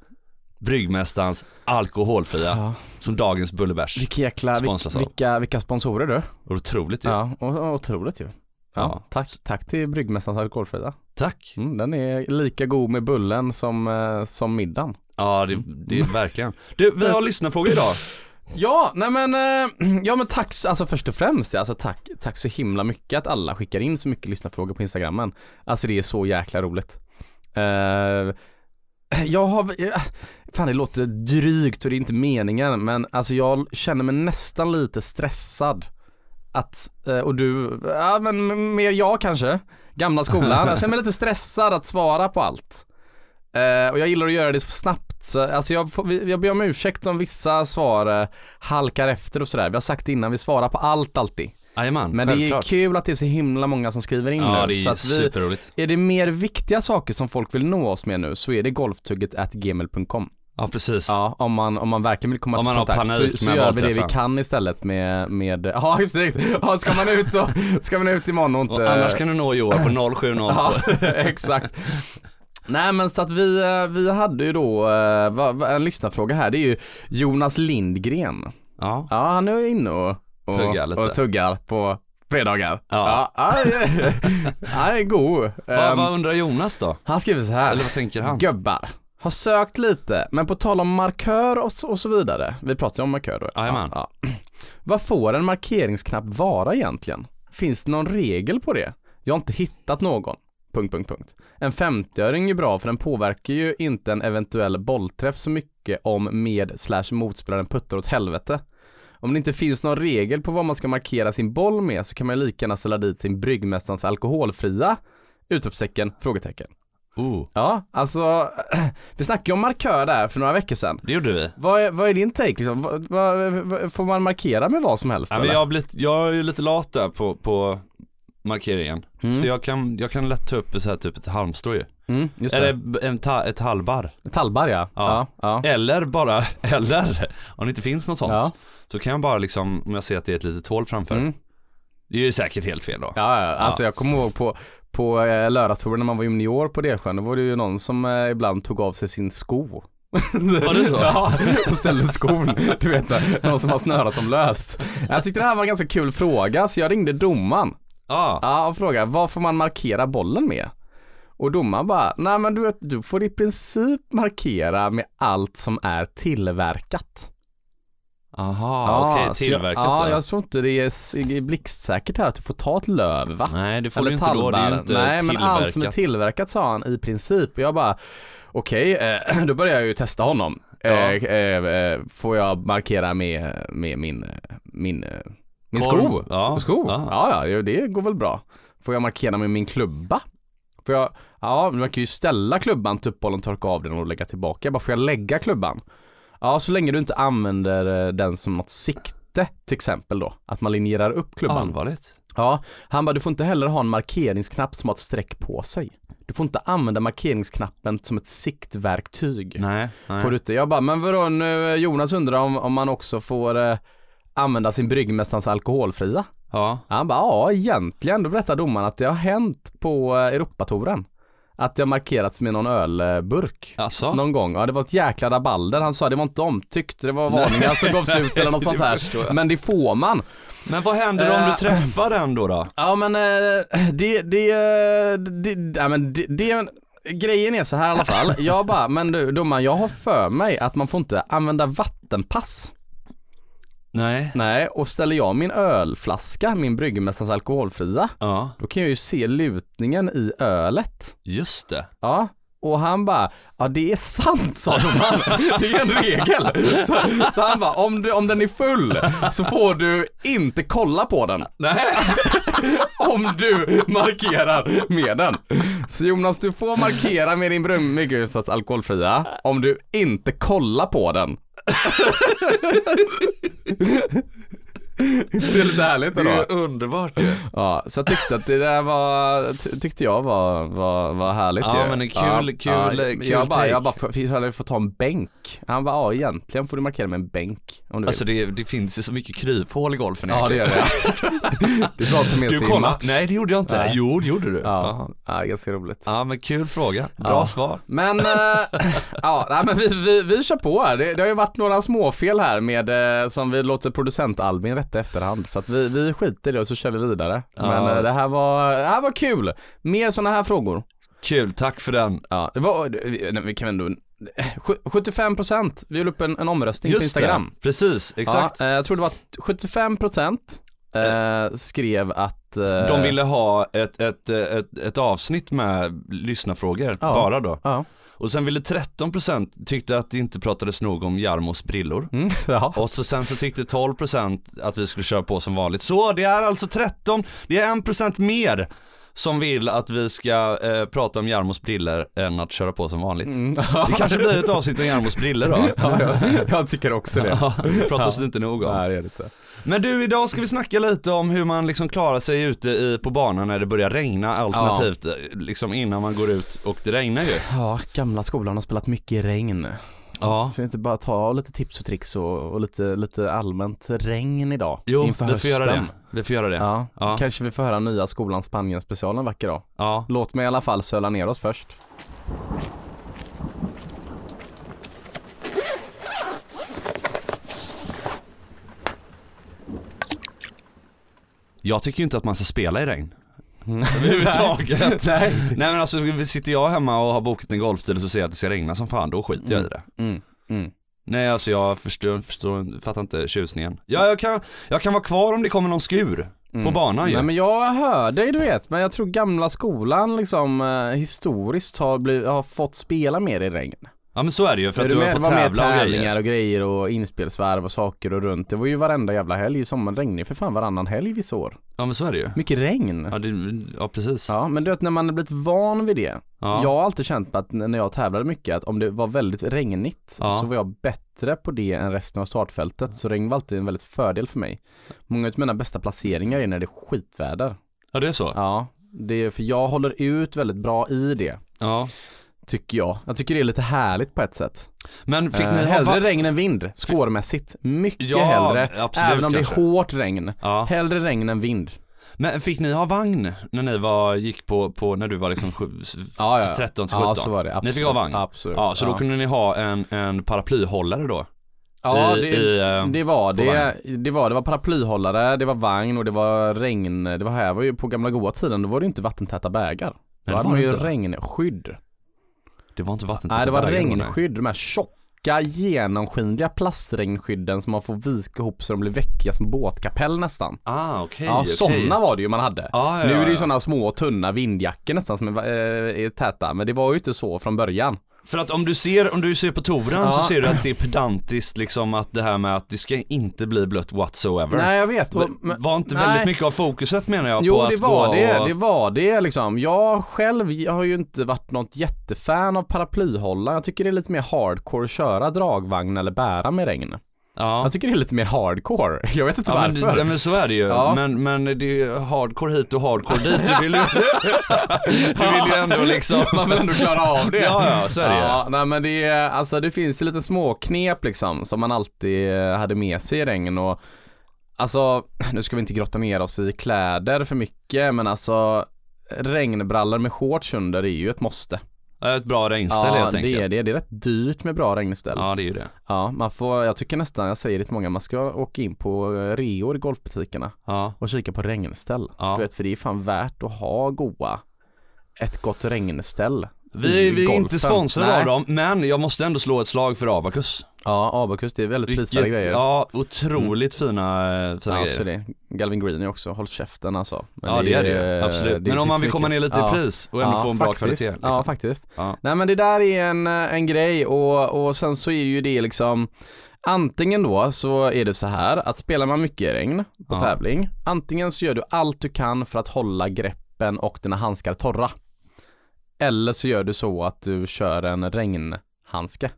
Speaker 2: Bryggmästarens alkoholfria
Speaker 1: Ja.
Speaker 2: som dagens bullebärs.
Speaker 1: Vilka jäkla,
Speaker 2: Sponsras av.
Speaker 1: vil- vilka, vilka sponsorer du.
Speaker 2: Otroligt ju.
Speaker 1: Ja, och, och otroligt ju. Ja,
Speaker 2: Ja.
Speaker 1: Tack, tack till Bryggmästarens alkoholfria.
Speaker 2: Tack.
Speaker 1: Mm, den är lika god med bullen som, eh, som middagen.
Speaker 2: Ja, det, det är verkligen. Du, vi har lyssnarfrågor idag.
Speaker 1: Ja, nej men, eh, ja men tack, så- alltså först och främst, alltså tack, tack så himla mycket att alla skickar in så mycket lyssnarfrågor på instagrammen. Alltså det är så jäkla roligt. Eh, jag har, eh, fan det låter drygt och det är inte meningen men alltså jag känner mig nästan lite stressad. Att, eh, och du, ja men m- mer jag kanske, gamla skolan. Jag känner mig lite stressad att svara på allt. Eh, och jag gillar att göra det så snabbt. Så, alltså jag, får, vi- jag ber om ursäkt om vissa svar eh, halkar efter och sådär. Vi har sagt innan, vi svarar på allt alltid.
Speaker 2: Jajamän,
Speaker 1: Men det är
Speaker 2: självklart.
Speaker 1: kul att det är så himla många som skriver in
Speaker 2: Ja,
Speaker 1: nu.
Speaker 2: det
Speaker 1: så
Speaker 2: är
Speaker 1: att vi,
Speaker 2: superroligt.
Speaker 1: är det mer viktiga saker som folk vill nå oss med nu så är det golftugget at gmail.com.
Speaker 2: Ja, precis.
Speaker 1: Ja, om man, om man verkligen vill komma
Speaker 2: Om
Speaker 1: till
Speaker 2: man har
Speaker 1: kontakt
Speaker 2: panik
Speaker 1: så, så
Speaker 2: med
Speaker 1: gör vi det vi
Speaker 2: valträffen.
Speaker 1: kan istället med, med ja just det, ja, ska man ut och, ska man ut imorgon och inte...
Speaker 2: Och annars kan du nå Johan på 0702.
Speaker 1: Ja, exakt. Nej men så att vi, eh, vi hade ju då eh, va- va- en lyssnarfråga här, det är ju Jonas Lindgren.
Speaker 2: Ja.
Speaker 1: Ja, han är inne och, och,
Speaker 2: Tuggar lite.
Speaker 1: och tuggar på fredagar.
Speaker 2: Ja.
Speaker 1: ja han är- han är god.
Speaker 2: Vad,
Speaker 1: Ehm,
Speaker 2: vad undrar Jonas då?
Speaker 1: han skriver så här.
Speaker 2: Eller vad tänker han?
Speaker 1: Gubbar, har sökt lite, men på tal om markör och så, och så vidare. Vi pratar ju om markör då.
Speaker 2: Jajamän.
Speaker 1: Ja, ja. Vad får en markeringsknapp vara egentligen? Finns det någon regel på det? Jag har inte hittat någon. Punkt, punkt, punkt. En 50-öring är bra för den påverkar ju inte en eventuell bollträff så mycket om med slash motspelaren puttar åt helvete. Om det inte finns någon regel på vad man ska markera sin boll med så kan man ju lika gärna ställa dit sin bryggmästarens alkoholfria utropstecken, frågetecken.
Speaker 2: Oh,
Speaker 1: Ja, alltså vi snackade ju om markör där för några veckor sedan.
Speaker 2: det gjorde vi.
Speaker 1: Vad är, vad är din take liksom? Vad, vad, vad, får man markera med vad som helst
Speaker 2: Ja, men
Speaker 1: eller?
Speaker 2: jag, har blivit, jag är ju lite lat där på, på markeringen.
Speaker 1: Mm.
Speaker 2: Så jag kan, jag kan lätt ta upp så här typ ett halmstrå ju.
Speaker 1: Mm, just det.
Speaker 2: Eller en ta, ett halvbar.
Speaker 1: Tallbar ja. Ja.
Speaker 2: Ja.
Speaker 1: ja.
Speaker 2: Eller bara, eller om det inte finns något sånt.
Speaker 1: Ja.
Speaker 2: Så kan jag bara liksom, om jag ser att det är ett litet hål framför.
Speaker 1: Mm.
Speaker 2: Det är ju säkert helt fel då.
Speaker 1: Ja, ja, alltså jag kommer ihåg på, på eh, lördagstouren när man var junior på Delsjön, då var det ju någon som eh, ibland tog av sig sin sko. Var
Speaker 2: det så?
Speaker 1: Ja, och ställde skon. Du vet, det, någon som har snörat dem löst. Jag tyckte det här var en ganska kul fråga, så jag ringde domaren.
Speaker 2: Ja.
Speaker 1: Ja, och fråga vad får man markera bollen med? Och domaren bara, nej men du vet, du får i princip markera med allt som är tillverkat.
Speaker 2: Aha,
Speaker 1: Ja,
Speaker 2: okej,
Speaker 1: så
Speaker 2: tillverkat
Speaker 1: jag, Ja,
Speaker 2: då.
Speaker 1: jag tror inte det är s- blixtsäkert här att du får ta ett löv va?
Speaker 2: Nej det får
Speaker 1: Eller
Speaker 2: du inte då, det är ju inte
Speaker 1: Nej, men
Speaker 2: tillverkat.
Speaker 1: allt som är tillverkat sa han i princip. Och jag bara, okej, eh, då börjar jag ju testa honom.
Speaker 2: Ja.
Speaker 1: Eh, eh, eh, får jag markera med, med min, eh, min, eh, min
Speaker 2: Korv.
Speaker 1: sko?
Speaker 2: Ja.
Speaker 1: sko?
Speaker 2: Ja.
Speaker 1: Ja, ja, det går väl bra. Får jag markera med min klubba? Får jag, ja, man kan ju ställa klubban till uppbollen, torka av den och lägga tillbaka. Jag bara, får jag lägga klubban? Ja, så länge du inte använder eh, den som något sikte till exempel då. Att man linjerar upp klubban.
Speaker 2: Allvarligt.
Speaker 1: Ja, han bara du får inte heller ha en markeringsknapp som har ett streck på sig. Du får inte använda markeringsknappen som ett siktverktyg.
Speaker 2: Nej, nej.
Speaker 1: Får du inte. Jag bara, men vadå nu, Jonas undrar om, om man också får eh, använda sin bryggmästarens alkoholfria?
Speaker 2: Ja.
Speaker 1: Han bara, ja egentligen. Då berättar domaren att det har hänt på eh, Europatouren. Att det har markerats med någon ölburk.
Speaker 2: Alltså?
Speaker 1: Någon gång. Ja det var ett jäkla rabalder. Han sa det var inte omtyckt, det var varningar som gavs ut eller något sånt
Speaker 2: det förstår
Speaker 1: här.
Speaker 2: jag.
Speaker 1: Men det får man.
Speaker 2: Men vad händer om
Speaker 1: Eh.
Speaker 2: du träffar den då? då?
Speaker 1: Ja men eh, det, det, eh, det, ja, men det, det är en grejen är så här i alla fall. Jag bara, men du domaren, jag har för mig att man får inte använda vattenpass.
Speaker 2: Nej.
Speaker 1: Nej, och ställer jag min ölflaska, min bryggmästarens alkoholfria,
Speaker 2: Ja,
Speaker 1: då kan jag ju se lutningen i ölet.
Speaker 2: just det.
Speaker 1: Ja. Och han bara, ja det är sant sa domaren. Det är en regel. Så, så han bara, om, du, om den är full så får du inte kolla på den.
Speaker 2: Nej.
Speaker 1: Om du markerar med den. Så Jonas, du får markera med din brunmygghusats alkoholfria om du inte kollar på den. Det är lite härligt
Speaker 2: Det är ju
Speaker 1: ändå.
Speaker 2: underbart ju.
Speaker 1: Ja, så jag tyckte att det där var, ty- tyckte jag var, var, var härligt
Speaker 2: Ja,
Speaker 1: ju.
Speaker 2: men en kul- kul- kul
Speaker 1: Jag bara,
Speaker 2: take.
Speaker 1: jag bara, för, hade fått ta en bänk. Han bara, ja egentligen får du markera med en bänk om du vill.
Speaker 2: Alltså det, det finns ju så mycket kryphål i golfen
Speaker 1: ja det gör det. Det är bra att ta med
Speaker 2: Du
Speaker 1: sig i
Speaker 2: kolla.
Speaker 1: match.
Speaker 2: Nej det gjorde jag inte.
Speaker 1: Nej.
Speaker 2: Jo det gjorde du.
Speaker 1: Ja,
Speaker 2: Ja.
Speaker 1: ja, ganska roligt.
Speaker 2: ja men kul fråga. Bra svar.
Speaker 1: Men, eh, ja, nej, men vi, vi, vi kör på här. Det, det har ju varit några småfel här med, eh, som vi låter producent Albin rätta i efterhand. Så att vi, vi skiter i det och så kör vi vidare. Men
Speaker 2: Ja.
Speaker 1: eh, det, här var, det här var kul. Mer sådana här frågor.
Speaker 2: Kul, tack för den.
Speaker 1: Ja, det var, vi- nej, vi kan ändå, eh, sju- 75% vi gjorde upp en, en omröstning på
Speaker 2: Just det.
Speaker 1: Instagram.
Speaker 2: Precis, exakt.
Speaker 1: Ja, eh, jag tror det var 75% eh, skrev att eh,
Speaker 2: De ville ha ett, ett, ett, ett avsnitt med lyssnarfrågor,
Speaker 1: Ja.
Speaker 2: bara då.
Speaker 1: Ja,
Speaker 2: Och sen ville 13% tyckte att det inte pratades nog om Jarmos brillor.
Speaker 1: mm, ja.
Speaker 2: Och så sen så tyckte 12% att vi skulle köra på som vanligt. Så det är alltså 13, det är 1% mer som vill att vi ska eh, prata om Jarmos briller än att köra på som vanligt.
Speaker 1: Mm.
Speaker 2: Det kanske blir ett avsnitt med Jarmos briller då.
Speaker 1: ja jag, jag tycker också det.
Speaker 2: Ja, det pratas det inte nog om.
Speaker 1: Nej, det är det inte.
Speaker 2: Men du, idag ska vi snacka lite om hur man liksom klarar sig ute i, på banan när det börjar regna alternativt eh, liksom innan man går ut och det regnar ju.
Speaker 1: Ja, gamla skolan har spelat mycket i regn.
Speaker 2: Ja.
Speaker 1: Så inte bara ta lite tips och tricks och, och lite, lite allmänt regn idag
Speaker 2: Jo,
Speaker 1: inför
Speaker 2: vi får
Speaker 1: hösten.
Speaker 2: göra det. Vi får göra det. Ja.
Speaker 1: Ja. kanske vi får höra nya skolan Spanien special en vacker dag.
Speaker 2: ja.
Speaker 1: Låt mig i alla fall söla ner oss först.
Speaker 2: Jag tycker ju inte att man ska spela i regn. Överhuvudtaget.
Speaker 1: Mm. Nej.
Speaker 2: Nej men alltså sitter jag hemma och har bokat en golfstil och så ser jag att det ska regna som fan, då skiter jag i det.
Speaker 1: Mm, mm.
Speaker 2: Nej alltså jag förstår, förstår fattar inte tjusningen. Ja jag kan, jag kan vara kvar om det kommer någon skur på banan
Speaker 1: Mm.
Speaker 2: ju.
Speaker 1: Nej men jag hör dig du vet, men jag tror gamla skolan liksom eh, historiskt har, bliv- har fått spela mer i regn.
Speaker 2: Ja men så är det ju för
Speaker 1: Är
Speaker 2: att du har
Speaker 1: med?
Speaker 2: fått
Speaker 1: var med i
Speaker 2: tävla och grejer.
Speaker 1: tävlingar och grejer och inspelsvarv och saker och runt. Det var ju varenda jävla helg i sommar. Regnig för fan varannan helg vissa år.
Speaker 2: Ja men så är det ju.
Speaker 1: Mycket regn.
Speaker 2: Ja, det, ja precis.
Speaker 1: Mm. Ja men du vet när man har blivit van vid det.
Speaker 2: Ja.
Speaker 1: Jag har alltid känt att när jag tävlade mycket att om det var väldigt regnigt
Speaker 2: Ja.
Speaker 1: så var jag bättre på det än resten av startfältet. Så regn var alltid en väldigt fördel för mig. Många av mina bästa placeringar är när det är skitväder.
Speaker 2: Ja det är så.
Speaker 1: Ja, det är för jag håller ut väldigt bra i det.
Speaker 2: Ja.
Speaker 1: Tycker jag. Jag tycker det är lite härligt på ett sätt.
Speaker 2: Men fick
Speaker 1: Eh,
Speaker 2: ni ha
Speaker 1: hellre
Speaker 2: va-
Speaker 1: regn än vind, skårmässigt. Mycket
Speaker 2: Ja,
Speaker 1: hellre.
Speaker 2: absolut,
Speaker 1: även om det
Speaker 2: kanske.
Speaker 1: är hårt regn.
Speaker 2: Ja.
Speaker 1: Hellre regn än vind.
Speaker 2: Men fick ni ha vagn när ni var, gick på, på när du var liksom sju, s- 13 till 17?
Speaker 1: Ja, så var det. Absolut.
Speaker 2: Ni fick ha vagn?
Speaker 1: Absolut.
Speaker 2: Ja, så då kunde ni ha en, en paraplyhållare då?
Speaker 1: Ja,
Speaker 2: i,
Speaker 1: det,
Speaker 2: i, eh,
Speaker 1: det var
Speaker 2: på
Speaker 1: det. Det var, det var paraplyhållare, det var vagn och det var regn. Det var här var ju på gamla goa tiden, då var det ju inte vattentäta bägar. Då
Speaker 2: det
Speaker 1: hade
Speaker 2: var
Speaker 1: man
Speaker 2: det
Speaker 1: ju
Speaker 2: inte.
Speaker 1: regnskydd.
Speaker 2: det var inte vattentäta
Speaker 1: Nej, det var
Speaker 2: vägar då, nej.
Speaker 1: regnskydd, de här tjocka genomskinliga plastregnskydden som man får vika ihop så de blir väckiga som båtkapell nästan.
Speaker 2: Ah, okej.
Speaker 1: Ja,
Speaker 2: okej.
Speaker 1: sådana var det ju man hade.
Speaker 2: Ja, ja,
Speaker 1: nu är det
Speaker 2: ja,
Speaker 1: ju
Speaker 2: ja.
Speaker 1: sådana små tunna vindjackor nästan som är, eh, är täta, men det var ju inte så från början.
Speaker 2: För att om du ser, om du ser på Toran så
Speaker 1: Ja.
Speaker 2: ser du att det är pedantiskt liksom att det här med att det ska inte bli blött whatsoever.
Speaker 1: Nej, jag vet. Och, men-
Speaker 2: var inte
Speaker 1: nej.
Speaker 2: väldigt mycket av fokuset menar jag på
Speaker 1: Jo det
Speaker 2: att
Speaker 1: var
Speaker 2: gå
Speaker 1: det,
Speaker 2: och...
Speaker 1: det var det liksom. Jag själv har ju inte varit något jättefan av paraplyhållaren. Jag tycker det är lite mer hardcore att köra dragvagn eller bära med regn.
Speaker 2: Ja.
Speaker 1: Jag tycker det är lite mer hardcore. Jag vet inte
Speaker 2: Ja men,
Speaker 1: varför.
Speaker 2: ja men så är det ju,
Speaker 1: Ja.
Speaker 2: men, men det är ju hardcore hit och hardcore dit, du vill ju, du vill ju ändå liksom
Speaker 1: Man vill ändå klara av det.
Speaker 2: Ja ja, så är det ju.
Speaker 1: Ja, nej men det, är- alltså det finns ju lite små knep liksom som man alltid eh, hade med sig i regn och alltså, nu ska vi inte grotta ner oss i kläder för mycket men alltså regnbrallor med shorts under är ju ett måste.
Speaker 2: Ja. Ett bra regnställ
Speaker 1: ja,
Speaker 2: helt enkelt
Speaker 1: det är det. Det är rätt dyrt med bra regnställ. Ja.
Speaker 2: Ja det är ju det
Speaker 1: man får, jag tycker nästan, jag säger det till många, man ska åka in på eh, reor i golfbutikerna
Speaker 2: Ja,
Speaker 1: och kika på regnställ.
Speaker 2: Ja.
Speaker 1: Du vet, för det är fan värt att ha goa, ett gott regnställ.
Speaker 2: Vi,
Speaker 1: i
Speaker 2: vi är
Speaker 1: golfen.
Speaker 2: inte sponsrade
Speaker 1: Nej.
Speaker 2: av dem, men jag måste ändå slå ett slag för Abacus.
Speaker 1: Ja, Abacus, det är väldigt prisvärda grejer. Ja,
Speaker 2: ja, otroligt fina, eh, fina
Speaker 1: alltså
Speaker 2: grejer.
Speaker 1: det. Galvin Green är också, håll käften alltså. Men
Speaker 2: Ja det är det ju,
Speaker 1: eh,
Speaker 2: absolut.
Speaker 1: det
Speaker 2: Men om
Speaker 1: finns
Speaker 2: man vill komma
Speaker 1: mycket-
Speaker 2: ner lite
Speaker 1: Ja.
Speaker 2: i pris och ändå få en bra kvalitet. Liksom.
Speaker 1: Ja faktiskt.
Speaker 2: Ja.
Speaker 1: Nej men det där är en, eh, en grej och, och sen så är ju det liksom Antingen då så är det så här att spelar man mycket i regn på
Speaker 2: Ja.
Speaker 1: tävling Antingen så gör du allt du kan för att hålla greppen och dina handskar torra Eller så gör du så att du kör en regnhandske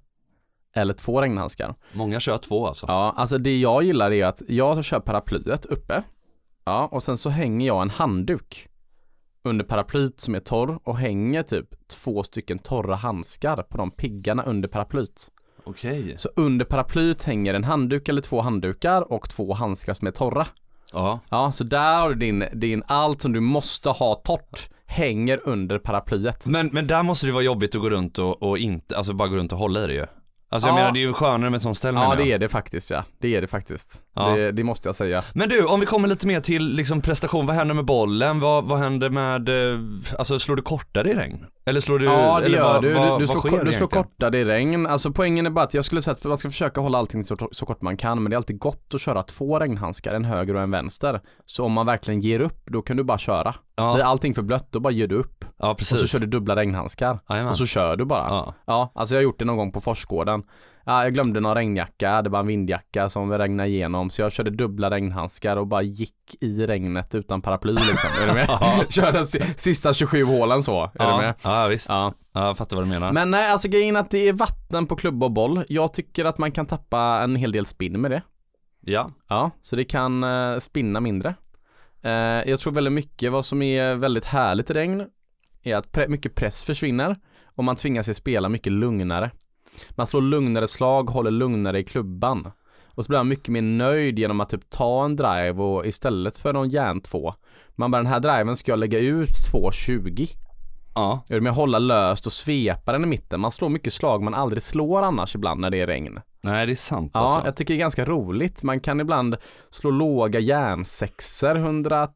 Speaker 1: Eller två regnhandskar
Speaker 2: Många kör två alltså.
Speaker 1: Ja, alltså det jag gillar är att jag kör paraplyet uppe. Ja, och sen så hänger jag en handduk under paraplyet som är torr och hänger typ två stycken torra handskar på de piggarna under paraplyet.
Speaker 2: Okej.
Speaker 1: Så under paraplyet hänger en handduk eller två handdukar och två handskar som är torra.
Speaker 2: Ja.
Speaker 1: Ja, så där har du din, din allt som du måste ha torrt hänger under paraplyet.
Speaker 2: Men, men där måste det vara jobbigt att gå runt och, och inte, alltså bara gå runt och hålla i det ju. Alltså jag
Speaker 1: Ja.
Speaker 2: menar det är ju skönare med ett sånt ställe
Speaker 1: Ja,
Speaker 2: menar
Speaker 1: det
Speaker 2: jag.
Speaker 1: är det faktiskt ja. Det är det faktiskt.
Speaker 2: Ja.
Speaker 1: Det, det måste jag säga.
Speaker 2: Men du, om vi kommer lite mer till liksom prestation, vad händer med bollen? Vad, vad händer med, eh, alltså slår du kortare i regn? Eller slår du,
Speaker 1: Ja det
Speaker 2: eller
Speaker 1: gör
Speaker 2: vad,
Speaker 1: du,
Speaker 2: vad,
Speaker 1: du, du,
Speaker 2: vad
Speaker 1: slår,
Speaker 2: sker
Speaker 1: ko- du slår
Speaker 2: egentligen?
Speaker 1: kortare i regn. Alltså poängen är bara att jag skulle säga att man ska försöka hålla allting så, så kort man kan men det är alltid gott att köra två regnhandskar, en höger och en vänster. Så om man verkligen ger upp då kan du bara köra.
Speaker 2: Ja.
Speaker 1: Blir allting för blött då bara ger du upp.
Speaker 2: Ja
Speaker 1: Och så
Speaker 2: precis.
Speaker 1: kör du dubbla regnhandskar.
Speaker 2: Jajamän.
Speaker 1: Och så kör du bara.
Speaker 2: Ja.
Speaker 1: alltså jag har gjort det någon gång på Forsgården. Ja, jag glömde någon regnjacka, det var en vindjacka som regnade igenom så jag körde dubbla regnhandskar och bara gick i regnet utan paraply liksom. Är du med? Körde si- sista 27 hålen så. Är du med?
Speaker 2: Ja, ja visst. Ja.
Speaker 1: Ja.
Speaker 2: jag fattar vad du menar.
Speaker 1: Men nej, alltså grejen är att det är vatten på klubba och boll. Jag tycker att man kan tappa en hel del spinn med det.
Speaker 2: Ja.
Speaker 1: Ja, så det kan eh, spinna mindre. Eh, jag tror väldigt mycket vad som är väldigt härligt i regn är att pre- mycket press försvinner och man tvingas sig spela mycket lugnare. Man slår lugnare slag, håller lugnare i klubban. Och så blir man mycket mer nöjd genom att typ ta en drive och istället för någon järn två. Man bara den här driven ska jag lägga ut 2.20.
Speaker 2: Ja.
Speaker 1: Gör det med att hålla löst och svepa den i mitten. Man slår mycket slag man aldrig slår annars ibland när det är regn.
Speaker 2: Nej det är sant
Speaker 1: Ja,
Speaker 2: alltså.
Speaker 1: jag tycker det är ganska roligt. Man kan ibland slå låga järnsexer 100,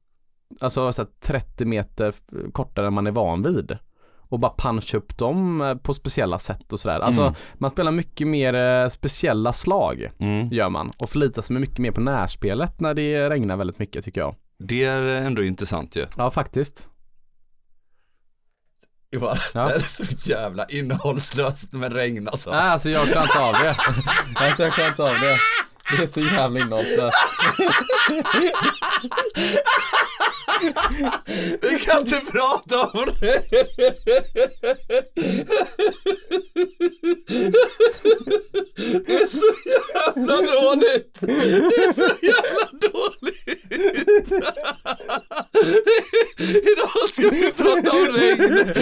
Speaker 1: alltså så här 30 meter f- kortare än man är van vid. Och bara puncha upp dem eh, på speciella sätt och sådär. Alltså
Speaker 2: Mm.
Speaker 1: man spelar mycket mer eh, speciella slag
Speaker 2: Mm.
Speaker 1: gör man och förlitar sig mycket mer på närspelet när det regnar väldigt mycket tycker jag.
Speaker 2: Det är ändå intressant ju.
Speaker 1: Ja faktiskt.
Speaker 2: Johan,
Speaker 1: Ja. det här
Speaker 2: är så jävla innehållslöst med regn alltså.
Speaker 1: Nej alltså jag klarar inte av det. Alltså jag klarar inte av det. Det är så jävla innehållslöst.
Speaker 2: Vi kan inte prata om det! Det är så jävla dåligt! Det är så jävla dåligt! Idag ska vi prata om regn!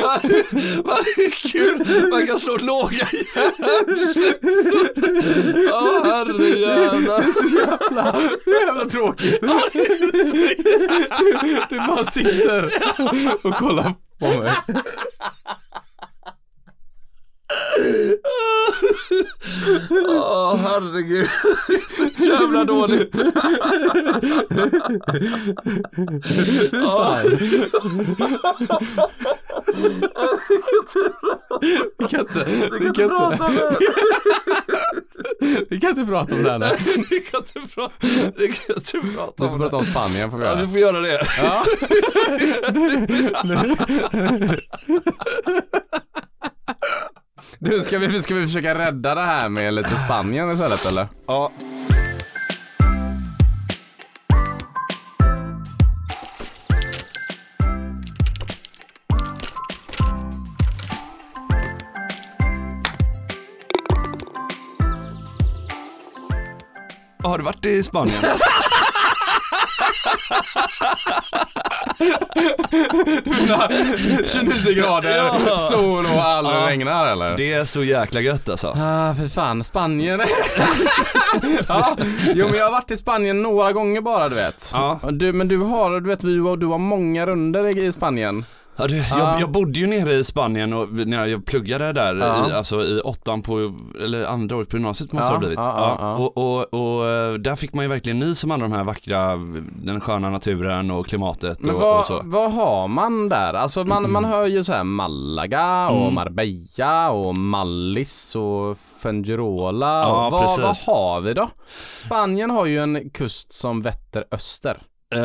Speaker 2: Ja, det- Vad det är kul! Man kan slå låga järnsexor! Ja, herrejävlar!
Speaker 1: Det är så jävla, det är jävla tråkigt. Du, du bara sitter och kollar på mig.
Speaker 2: Åh herregud, det är så jävla dåligt.
Speaker 1: Fan. Vi kan inte, vi kan inte,
Speaker 2: om det.
Speaker 1: vi kan inte prata om det här nu.
Speaker 2: Vi kan inte prata, vi kan inte
Speaker 1: Vi
Speaker 2: prata
Speaker 1: får
Speaker 2: om det.
Speaker 1: prata om Spanien får vi
Speaker 2: Ja,
Speaker 1: göra.
Speaker 2: vi får göra det.
Speaker 1: Ja. Du, ska vi, ska vi försöka rädda det här med lite Spanien istället eller?
Speaker 2: Ja. Har du varit i Spanien? Ja.
Speaker 1: sol och aldrig
Speaker 2: Ja.
Speaker 1: regnar eller?
Speaker 2: Det är så jäkla gött alltså.
Speaker 1: Ah, för fan, Spanien. ja, jo men jag har varit i Spanien några gånger bara du vet.
Speaker 2: Ja.
Speaker 1: Du, men du har, du vet, du, har- du har många runder i i Spanien.
Speaker 2: Ja, du,
Speaker 1: Ja.
Speaker 2: jag, jag bodde ju nere i Spanien och när jag pluggade där,
Speaker 1: Ja.
Speaker 2: i, alltså i åttan på, eller andra året på gymnasiet måste
Speaker 1: Ja,
Speaker 2: det ha blivit.
Speaker 1: ja, ja, ja.
Speaker 2: Och, och, och eh, där fick man ju verkligen nys om alla de här vackra, den sköna naturen och klimatet
Speaker 1: Men
Speaker 2: och, och
Speaker 1: vad,
Speaker 2: så.
Speaker 1: vad har man där? Alltså man, man hör ju så här Malaga och
Speaker 2: Mm.
Speaker 1: Marbella och Mallis och Fungirola.
Speaker 2: Ja,
Speaker 1: vad, vad
Speaker 2: precis.
Speaker 1: har vi då? Spanien har ju en kust som vetter öster.
Speaker 2: Eh,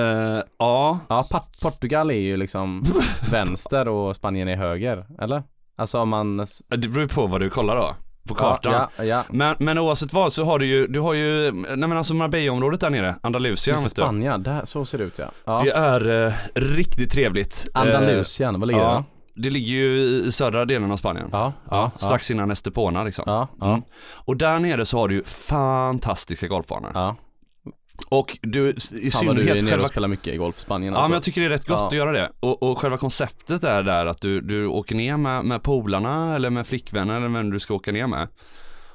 Speaker 2: ja,
Speaker 1: Ja, Pat- Portugal är ju liksom vänster och Spanien är höger, eller? Alltså om man... s-
Speaker 2: det beror ju på vad du kollar då, på kartan.
Speaker 1: Ja, ja, ja.
Speaker 2: Men, men oavsett vad så har du ju, du har ju, nej men alltså Marbella-området där nere, Andalusien
Speaker 1: Just
Speaker 2: vet du.
Speaker 1: Spanien, där, så ser det ut ja. ja.
Speaker 2: Det är eh, riktigt trevligt. Eh,
Speaker 1: Andalusien, vad ligger det?
Speaker 2: ja, det ligger ju i i södra delen av Spanien.
Speaker 1: Ja, ja, ja.
Speaker 2: Strax innan Estepona liksom.
Speaker 1: Ja, ja,
Speaker 2: Mm. Och där nere så har du ju fantastiska golfbanor.
Speaker 1: ja.
Speaker 2: Och du, i
Speaker 1: Fan vad du är
Speaker 2: synnerhet
Speaker 1: nere
Speaker 2: själva...
Speaker 1: och spelar mycket i golf i Spanien
Speaker 2: Ja men
Speaker 1: alltså.
Speaker 2: jag tycker det är rätt gott
Speaker 1: Ja.
Speaker 2: att göra det. Och, och själva konceptet är där att du, du åker ner med, med polarna eller med flickvänner eller vem du ska åka ner med.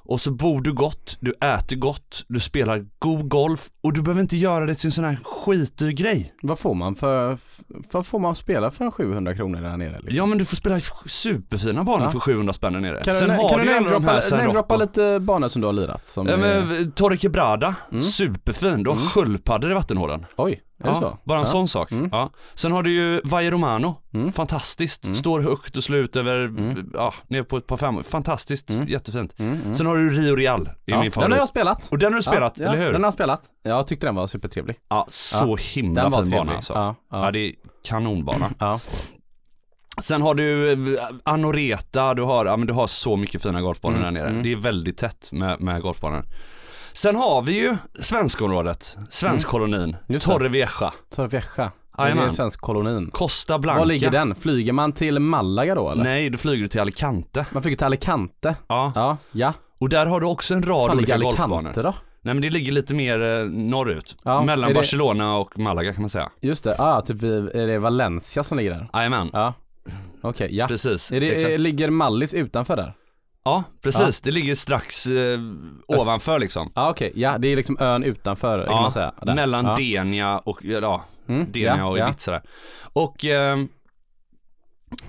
Speaker 2: Och så bor du gott, du äter gott, du spelar god golf och du behöver inte göra det till en sån här skitdyr grej.
Speaker 1: Vad får man för, f- vad får man spela för 700 kronor där nere? Liksom?
Speaker 2: Ja men du får spela superfina banor
Speaker 1: Ja.
Speaker 2: för 700 spänn där nere.
Speaker 1: Kan du, kan
Speaker 2: ju
Speaker 1: du
Speaker 2: alla de här
Speaker 1: namedroppa
Speaker 2: San
Speaker 1: namedroppa
Speaker 2: Rocco.
Speaker 1: lite banor som du har lirat? Som
Speaker 2: Ja,
Speaker 1: är,
Speaker 2: men eh, Torre Quebrada,
Speaker 1: Mm.
Speaker 2: superfin. Du har sköldpaddor i vattenhålan.
Speaker 1: oj, är det så?
Speaker 2: Ja, bara en
Speaker 1: ja. Mm.
Speaker 2: sån sak. Ja. Sen har du ju Valle Romano, fantastiskt.
Speaker 1: Mm.
Speaker 2: Står högt och slut över, ja, ner på ett par fem. Fantastiskt, jättefint. Sen har du Rio Real, är
Speaker 1: Mm. Ja.
Speaker 2: min favorit.
Speaker 1: Den har jag spelat.
Speaker 2: Och den har du spelat,
Speaker 1: ja, ja,
Speaker 2: eller hur?
Speaker 1: Den har jag spelat. Jag tyckte den var supertrevlig.
Speaker 2: Ja, så himla
Speaker 1: Den var
Speaker 2: fin bana
Speaker 1: trevlig.
Speaker 2: alltså. Ja.
Speaker 1: Ja, ja,
Speaker 2: det är kanonbana.
Speaker 1: ja.
Speaker 2: Sen har du eh, Anoreta, du har, ja, men du har så mycket fina golfbanor
Speaker 1: Mm,
Speaker 2: där nere. Det är väldigt tätt med, med golfbanor. Sen har vi ju svenskområdet, svenskkolonin,
Speaker 1: Mm. Just det.
Speaker 2: Torrevieja,
Speaker 1: Torrevieja. Det är
Speaker 2: Jajamän.
Speaker 1: en svensk kolonin.
Speaker 2: Costa Blanca.
Speaker 1: Var ligger den? Flyger man till Malaga då eller?
Speaker 2: Nej, då flyger du till Alicante.
Speaker 1: Man flyger till Alicante.
Speaker 2: Ja.
Speaker 1: Ja, ja.
Speaker 2: Och där har du också en rad
Speaker 1: Fan ligger
Speaker 2: olika
Speaker 1: Alicante
Speaker 2: golfbanor.
Speaker 1: då?
Speaker 2: Nej men det ligger lite mer eh, norrut.
Speaker 1: Ja,
Speaker 2: Mellan
Speaker 1: är det-
Speaker 2: Barcelona och Malaga kan man säga.
Speaker 1: Just det, ja ah, typ vid, är det Valencia som ligger där?
Speaker 2: Jajamän,
Speaker 1: Ja. Okej, ja.
Speaker 2: precis.
Speaker 1: Är det,
Speaker 2: Exakt.
Speaker 1: eh, ligger Mallis utanför där?
Speaker 2: Ja, precis. Det ligger strax eh, ovanför liksom.
Speaker 1: Ja okej, ja det är liksom ön utanför kan man säga. Där.
Speaker 2: mellan
Speaker 1: ja.
Speaker 2: Denia och, ja,
Speaker 1: Mm,
Speaker 2: Denia
Speaker 1: ja,
Speaker 2: och
Speaker 1: ja.
Speaker 2: Ibiza där. Och ehm,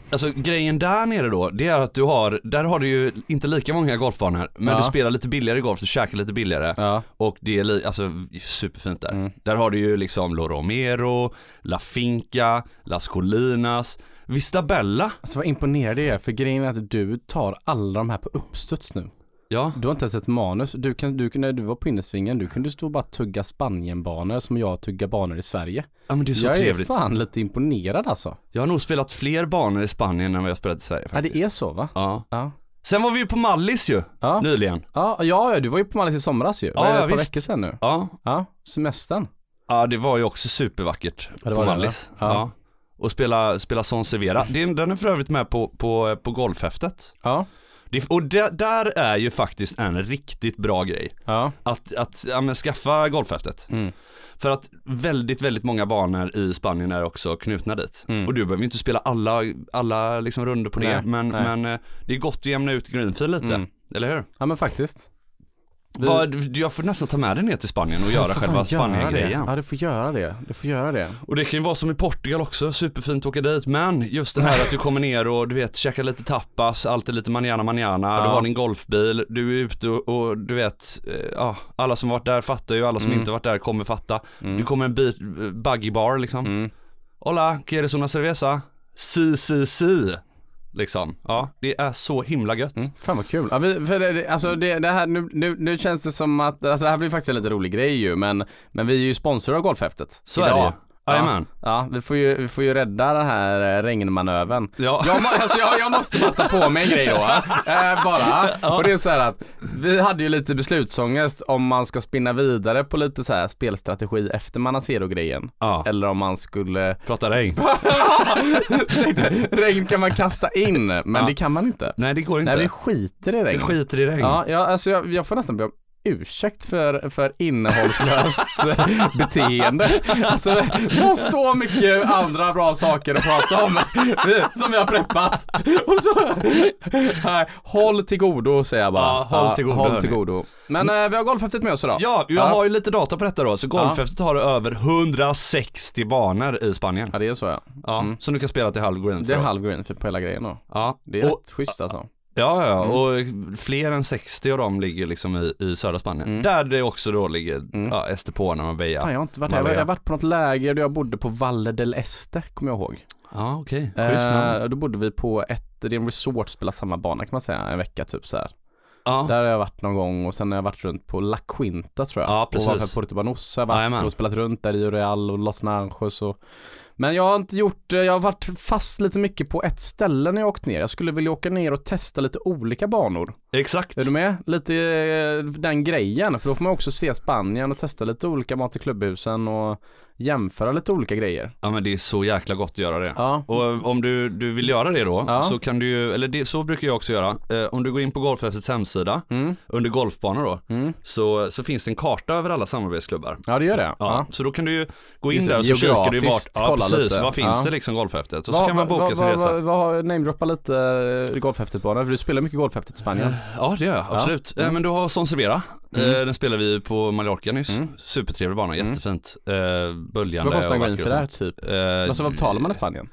Speaker 2: Alltså grejen där nere då, det är att du har, där har du ju inte lika många golfbanor, men
Speaker 1: Ja.
Speaker 2: du spelar lite billigare golf, du käkar lite billigare.
Speaker 1: Ja,
Speaker 2: Och det är li- alltså superfint där.
Speaker 1: Mm.
Speaker 2: Där har du ju liksom Lo Romero, La Finca, Las Colinas, Vistabella.
Speaker 1: alltså vad imponerad jag är för grejen är att du tar alla de här på uppstuds nu.
Speaker 2: Ja,
Speaker 1: Du har inte ens ett manus. Du kan, du, när du var på innersvingen, du kunde stå och bara tugga Spanienbanor som jag tuggar banor i Sverige.
Speaker 2: ja men det är så
Speaker 1: jag
Speaker 2: trevligt.
Speaker 1: är fan lite imponerad alltså.
Speaker 2: Jag har nog spelat fler banor i Spanien än vad jag spelat i Sverige
Speaker 1: Ja
Speaker 2: faktiskt.
Speaker 1: det är så va?
Speaker 2: Ja.
Speaker 1: Ja.
Speaker 2: Sen var vi ju på Mallis ju,
Speaker 1: Ja.
Speaker 2: nyligen.
Speaker 1: Ja, ja, ja du var ju på Mallis i somras ju.
Speaker 2: Ja,
Speaker 1: Var det
Speaker 2: ja,
Speaker 1: ett par
Speaker 2: visst.
Speaker 1: veckor sedan nu.
Speaker 2: Ja.
Speaker 1: Ja, semestern.
Speaker 2: ja, det var ju också supervackert
Speaker 1: Ja, det
Speaker 2: på
Speaker 1: var det,
Speaker 2: Mallis.
Speaker 1: va? Ja.
Speaker 2: Ja. Och spela, spela Son Severa. Det är- Den är för övrigt med på, på, på golfhäftet.
Speaker 1: Ja,
Speaker 2: Det, och det, där är ju faktiskt en riktigt bra grej.
Speaker 1: ja,
Speaker 2: att, att ja, men skaffa golfhäftet.
Speaker 1: Mm.
Speaker 2: För att väldigt, väldigt många banor i Spanien är också knutna dit. Och du behöver ju inte spela alla, alla liksom runder på det,
Speaker 1: Mm. Nej, nej.
Speaker 2: men, men eh, det är gott att jämna ut greenfield lite.
Speaker 1: Mm.
Speaker 2: Eller hur?
Speaker 1: ja men faktiskt. Vi-
Speaker 2: Ja, du- jag får nästan ta med dig ner till Spanien och göra
Speaker 1: Fan,
Speaker 2: själva
Speaker 1: göra
Speaker 2: Spanien-grejen.
Speaker 1: det. Ja du får göra det, du får göra det.
Speaker 2: Och det kan ju vara som i Portugal också, superfint att åka dit. Men just det här att du kommer ner och du vet, käkar lite tapas, alltid lite manana manana. Du
Speaker 1: Ja.
Speaker 2: har din golfbil, du är ute och, och du vet, eh, ja, alla som varit där fattar ju, alla
Speaker 1: Mm.
Speaker 2: som inte varit där kommer fatta. Det kommer en bit, eh, buggy bar liksom.
Speaker 1: Mm.
Speaker 2: Hola, quieres una cerveza? Si, si, si. Liksom, ja, det är så himla gött.
Speaker 1: Fan vad kul. Ja, vi, för det, det- alltså det, det här, nu, nu, nu känns det som att, alltså det här blir faktiskt en lite rolig grej ju men, men vi är ju sponsorer av Golfhäftet.
Speaker 2: Så
Speaker 1: Idag.
Speaker 2: är det ju.
Speaker 1: Ja,
Speaker 2: Jajamän.
Speaker 1: ja vi, får ju, vi får ju rädda den här eh, regnmanövern.
Speaker 2: Ja.
Speaker 1: Jag, må- alltså jag, jag måste bara ta på mig en grej då. Eh, bara. Och det är så här att vi hade ju lite beslutsångest om man ska spinna vidare på lite så här spelstrategi efter Manacero-grejen.
Speaker 2: Ja,
Speaker 1: Eller om man skulle,
Speaker 2: prata regn.
Speaker 1: regn kan man kasta in men
Speaker 2: Ja.
Speaker 1: det kan man inte.
Speaker 2: Nej det går inte.
Speaker 1: Nej vi skiter i regn.
Speaker 2: vi skiter i regn.
Speaker 1: Ja, jag, alltså jag, jag får nästan be om ursäkt för, för innehållslöst eh, beteende. Alltså, det var så mycket andra bra saker att prata om som vi har preppat. Och så, nej, håll till godo säger jag bara.
Speaker 2: Ja, håll till godo,
Speaker 1: håll
Speaker 2: hörni. Mm.
Speaker 1: till godo. Men eh, vi har golfhäftet med oss idag.
Speaker 2: Ja, jag
Speaker 1: Ja.
Speaker 2: har ju lite data på detta då, så golfhäftet har över 160 banor i Spanien.
Speaker 1: Ja, det är så ja.
Speaker 2: Ja, som du kan spela till halv green.
Speaker 1: Det är
Speaker 2: för.
Speaker 1: halv green för- på hela grejen då.
Speaker 2: Ja,
Speaker 1: Det är Mm.
Speaker 2: och,
Speaker 1: rätt schysst alltså.
Speaker 2: ja, ja, och fler än 60 av dem ligger liksom i, i södra Spanien. Där det också då ligger, ja, Estepona, Marbella.
Speaker 1: Mm. Fan, jag har inte varit där. Jag har- Jag har varit på något läger där jag bodde på Valle del Este, kommer jag ihåg.
Speaker 2: Ja, okej. Schysst namn.
Speaker 1: Eh, då bodde vi på ett, det är en resort, spelar samma bana kan man säga, en vecka typ så här.
Speaker 2: Ja,
Speaker 1: Där har jag varit någon gång och sen har jag varit runt på La Quinta tror jag.
Speaker 2: Ja, precis.
Speaker 1: Ovanför Puerto Banos har jag varit
Speaker 2: Jajamän.
Speaker 1: och spelat runt där i Real och Los Naranjos och Men jag har inte gjort, eh, jag har varit fast lite mycket på ett ställe när jag åkt ner. Jag skulle vilja åka ner och testa lite olika banor.
Speaker 2: exakt.
Speaker 1: Är du med? Lite eh, den grejen, för då får man också se Spanien och testa lite olika mat i klubbhusen och jämföra lite olika grejer.
Speaker 2: Ja men det är så jäkla gott att göra det.
Speaker 1: Ja.
Speaker 2: Och om du, du vill göra det då,
Speaker 1: Ja.
Speaker 2: så kan du ju, eller det, så brukar jag också göra. Eh, om du går in på Golfhäftets hemsida,
Speaker 1: Mm.
Speaker 2: under golfbanor då, så, så finns det en karta över alla samarbetsklubbar.
Speaker 1: Ja det gör det.
Speaker 2: Ja, Så då kan du ju gå in
Speaker 1: Just det,
Speaker 2: där och så kikar du ju vart,
Speaker 1: geografiskt
Speaker 2: ja,
Speaker 1: kolla
Speaker 2: precis,
Speaker 1: lite.
Speaker 2: vad finns
Speaker 1: Ja.
Speaker 2: det liksom golfhäftet? Och så kan man boka sin resa.
Speaker 1: Vad, namedroppa lite eh, golfhäftetbanan, för du spelar mycket golfhäftet i Spanien.
Speaker 2: Ja det gör jag, absolut. Eh, Men du har Sonsevera, mm. den spelade vi på Mallorca nyss. Supertrevlig bana, jättefint. Eh, Böljande
Speaker 1: Mm. Vad kostar en
Speaker 2: och
Speaker 1: green för
Speaker 2: vacker och
Speaker 1: det här
Speaker 2: sånt.
Speaker 1: typ?
Speaker 2: Eh,
Speaker 1: Alltså vad betalar man i Spanien?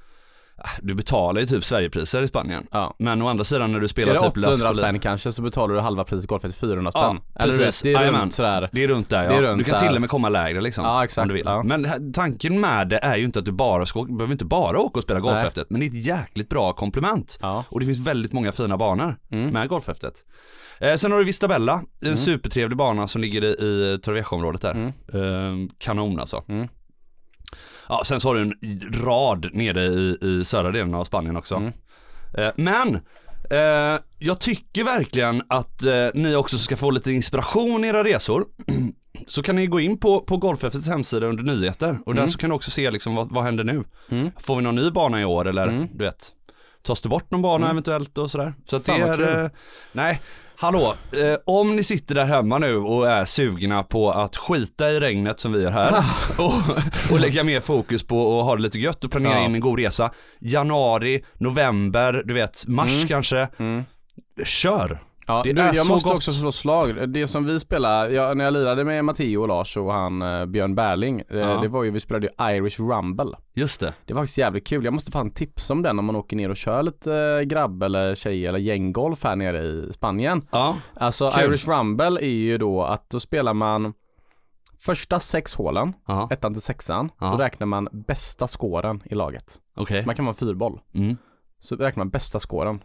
Speaker 2: Du betalar ju typ Sverigepriser i Spanien.
Speaker 1: Ja.
Speaker 2: Men å andra sidan när du
Speaker 1: Är
Speaker 2: spelar
Speaker 1: det
Speaker 2: typ
Speaker 1: 800
Speaker 2: Lascoli-
Speaker 1: spänn kanske så betalar du halva priset golfhäftet 400
Speaker 2: Ja,
Speaker 1: spänn. Eller du vet,
Speaker 2: precis.
Speaker 1: det är
Speaker 2: Jajamän.
Speaker 1: runt sådär.
Speaker 2: Det är runt där ja.
Speaker 1: Det är runt
Speaker 2: du kan
Speaker 1: där.
Speaker 2: till och med komma lägre liksom.
Speaker 1: Ja, exakt,
Speaker 2: Om du vill.
Speaker 1: ja.
Speaker 2: Men här- tanken med det är ju inte att du bara ska, åka- behöver inte bara åka och spela golf
Speaker 1: Nej.
Speaker 2: efter, men det är ett jäkligt bra komplement.
Speaker 1: Ja.
Speaker 2: Och det finns väldigt många fina banor med golfhäftet. Eh, sen har du Vistabella, en supertrevlig bana som ligger i, i Torrevieja-området där. Eh, kanon alltså.
Speaker 1: Mm.
Speaker 2: Ja, sen så har du en rad nere i, i södra delen av Spanien också. Eh, men eh, jag tycker verkligen att eh, ni också ska få lite inspiration i era resor. så kan ni gå in på, på Golfhäftets hemsida under nyheter och
Speaker 1: Mm.
Speaker 2: där så kan du också se liksom vad, vad händer nu. Får vi någon ny bana i år eller
Speaker 1: Mm.
Speaker 2: du vet, tas det bort någon bana eventuellt och sådär. Så att det
Speaker 1: Fan, vad
Speaker 2: är,
Speaker 1: kul.
Speaker 2: eh, nej, hallå, eh, om ni sitter där hemma nu och är sugna på att skita i regnet som vi gör här och, och lägga mer fokus på att ha det lite gött och planera
Speaker 1: Ja.
Speaker 2: in en god resa. Januari, november, du vet, mars
Speaker 1: Mm.
Speaker 2: kanske. Kör!
Speaker 1: Ja,
Speaker 2: Det
Speaker 1: du,
Speaker 2: är
Speaker 1: jag
Speaker 2: så
Speaker 1: måste
Speaker 2: gott.
Speaker 1: också slå slag. Det som vi spelade, jag, när jag lirade med Matteo och Lars och han eh, Björn Berling, eh, det var ju, vi spelade ju Irish Rumble.
Speaker 2: Just det.
Speaker 1: Det var faktiskt jävligt kul. Jag måste fan tipsa om den om man åker ner och kör lite eh, grabb eller tjej eller gänggolf här nere i Spanien.
Speaker 2: Ja,
Speaker 1: Alltså
Speaker 2: Kul.
Speaker 1: Irish Rumble är ju då att då spelar man första sex hålen,
Speaker 2: ja,
Speaker 1: ettan till sexan.
Speaker 2: Ja.
Speaker 1: Då räknar man bästa skåren i laget.
Speaker 2: okej.
Speaker 1: Man kan vara fyrboll.
Speaker 2: Mm,
Speaker 1: Så räknar man bästa skåren.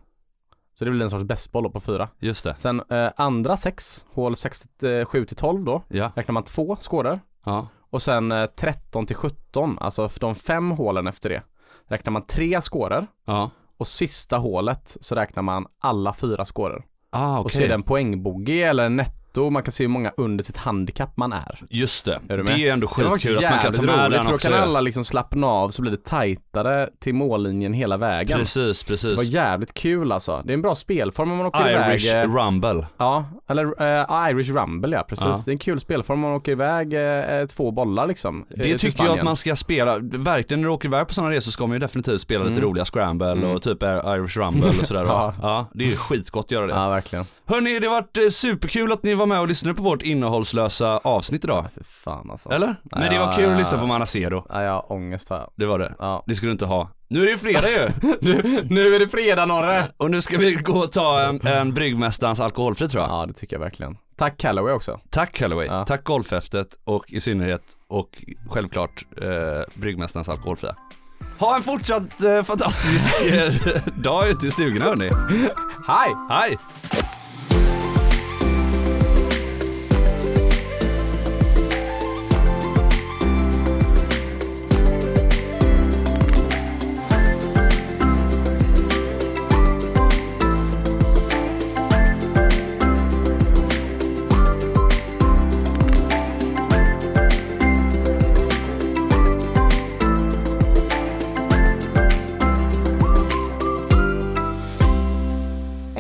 Speaker 1: Så det blir en sorts bästboll då på fyra.
Speaker 2: just det.
Speaker 1: Sen eh, andra sex, hål 6, eh, 7 till 12 då,
Speaker 2: Ja,
Speaker 1: räknar man två skårar.
Speaker 2: ja,
Speaker 1: Och sen eh, 13 till 17, alltså för de fem hålen efter det, räknar man tre skårar.
Speaker 2: ja.
Speaker 1: Och sista hålet så räknar man alla fyra skåror.
Speaker 2: Ah,
Speaker 1: Och
Speaker 2: okej.
Speaker 1: så är det en poängbogey eller en netto. Man kan se hur många under sitt handikapp man är.
Speaker 2: Just det.
Speaker 1: Är du med?
Speaker 2: det är ändå
Speaker 1: Det var
Speaker 2: skitkul
Speaker 1: faktiskt
Speaker 2: att man kan
Speaker 1: jävligt
Speaker 2: ta med
Speaker 1: roligt för
Speaker 2: den
Speaker 1: då
Speaker 2: också.
Speaker 1: kan alla liksom slappna av så blir det tajtare till mållinjen hela vägen.
Speaker 2: Precis,
Speaker 1: Det var
Speaker 2: precis.
Speaker 1: jävligt kul alltså. Det är en bra spelform om man åker
Speaker 2: Irish
Speaker 1: iväg. eh,
Speaker 2: Rumble.
Speaker 1: Ja, eller eh, Irish Rumble ja, precis.
Speaker 2: Ja.
Speaker 1: Det är en kul spelform om man åker iväg eh, två bollar liksom. eh,
Speaker 2: Det
Speaker 1: till
Speaker 2: tycker jag att
Speaker 1: Spanien.
Speaker 2: man ska spela, verkligen när du åker iväg på sådana resor ska man ju definitivt spela lite roliga scramble och typ Irish Rumble och sådär. ja.
Speaker 1: Mm. Ja.
Speaker 2: ja, det är ju skitgott att göra det.
Speaker 1: Ja, verkligen.
Speaker 2: Hörni, det har varit eh, superkul att ni var med och lyssnade på vårt innehållslösa avsnitt idag.
Speaker 1: Fy fan alltså.
Speaker 2: Eller? Men det var kul att lyssna på Manacero.
Speaker 1: Ja, jag har ångest har jag.
Speaker 2: Det var det.
Speaker 1: Ja.
Speaker 2: Det skulle du inte ha. Nu är det ju fredag ju!
Speaker 1: Nu, nu är det fredag Norre!
Speaker 2: Och nu ska vi gå och ta en, en Bryggmästarens alkoholfri tror jag.
Speaker 1: Ja, det tycker jag verkligen. Tack Calloway också.
Speaker 2: Tack Calloway,
Speaker 1: Ja.
Speaker 2: tack Golfhäftet och i synnerhet och självklart eh, Bryggmästarens alkoholfria. Ha en fortsatt eh, fantastisk eh, dag ute i stugorna hörni.
Speaker 1: Hej!
Speaker 2: Hej!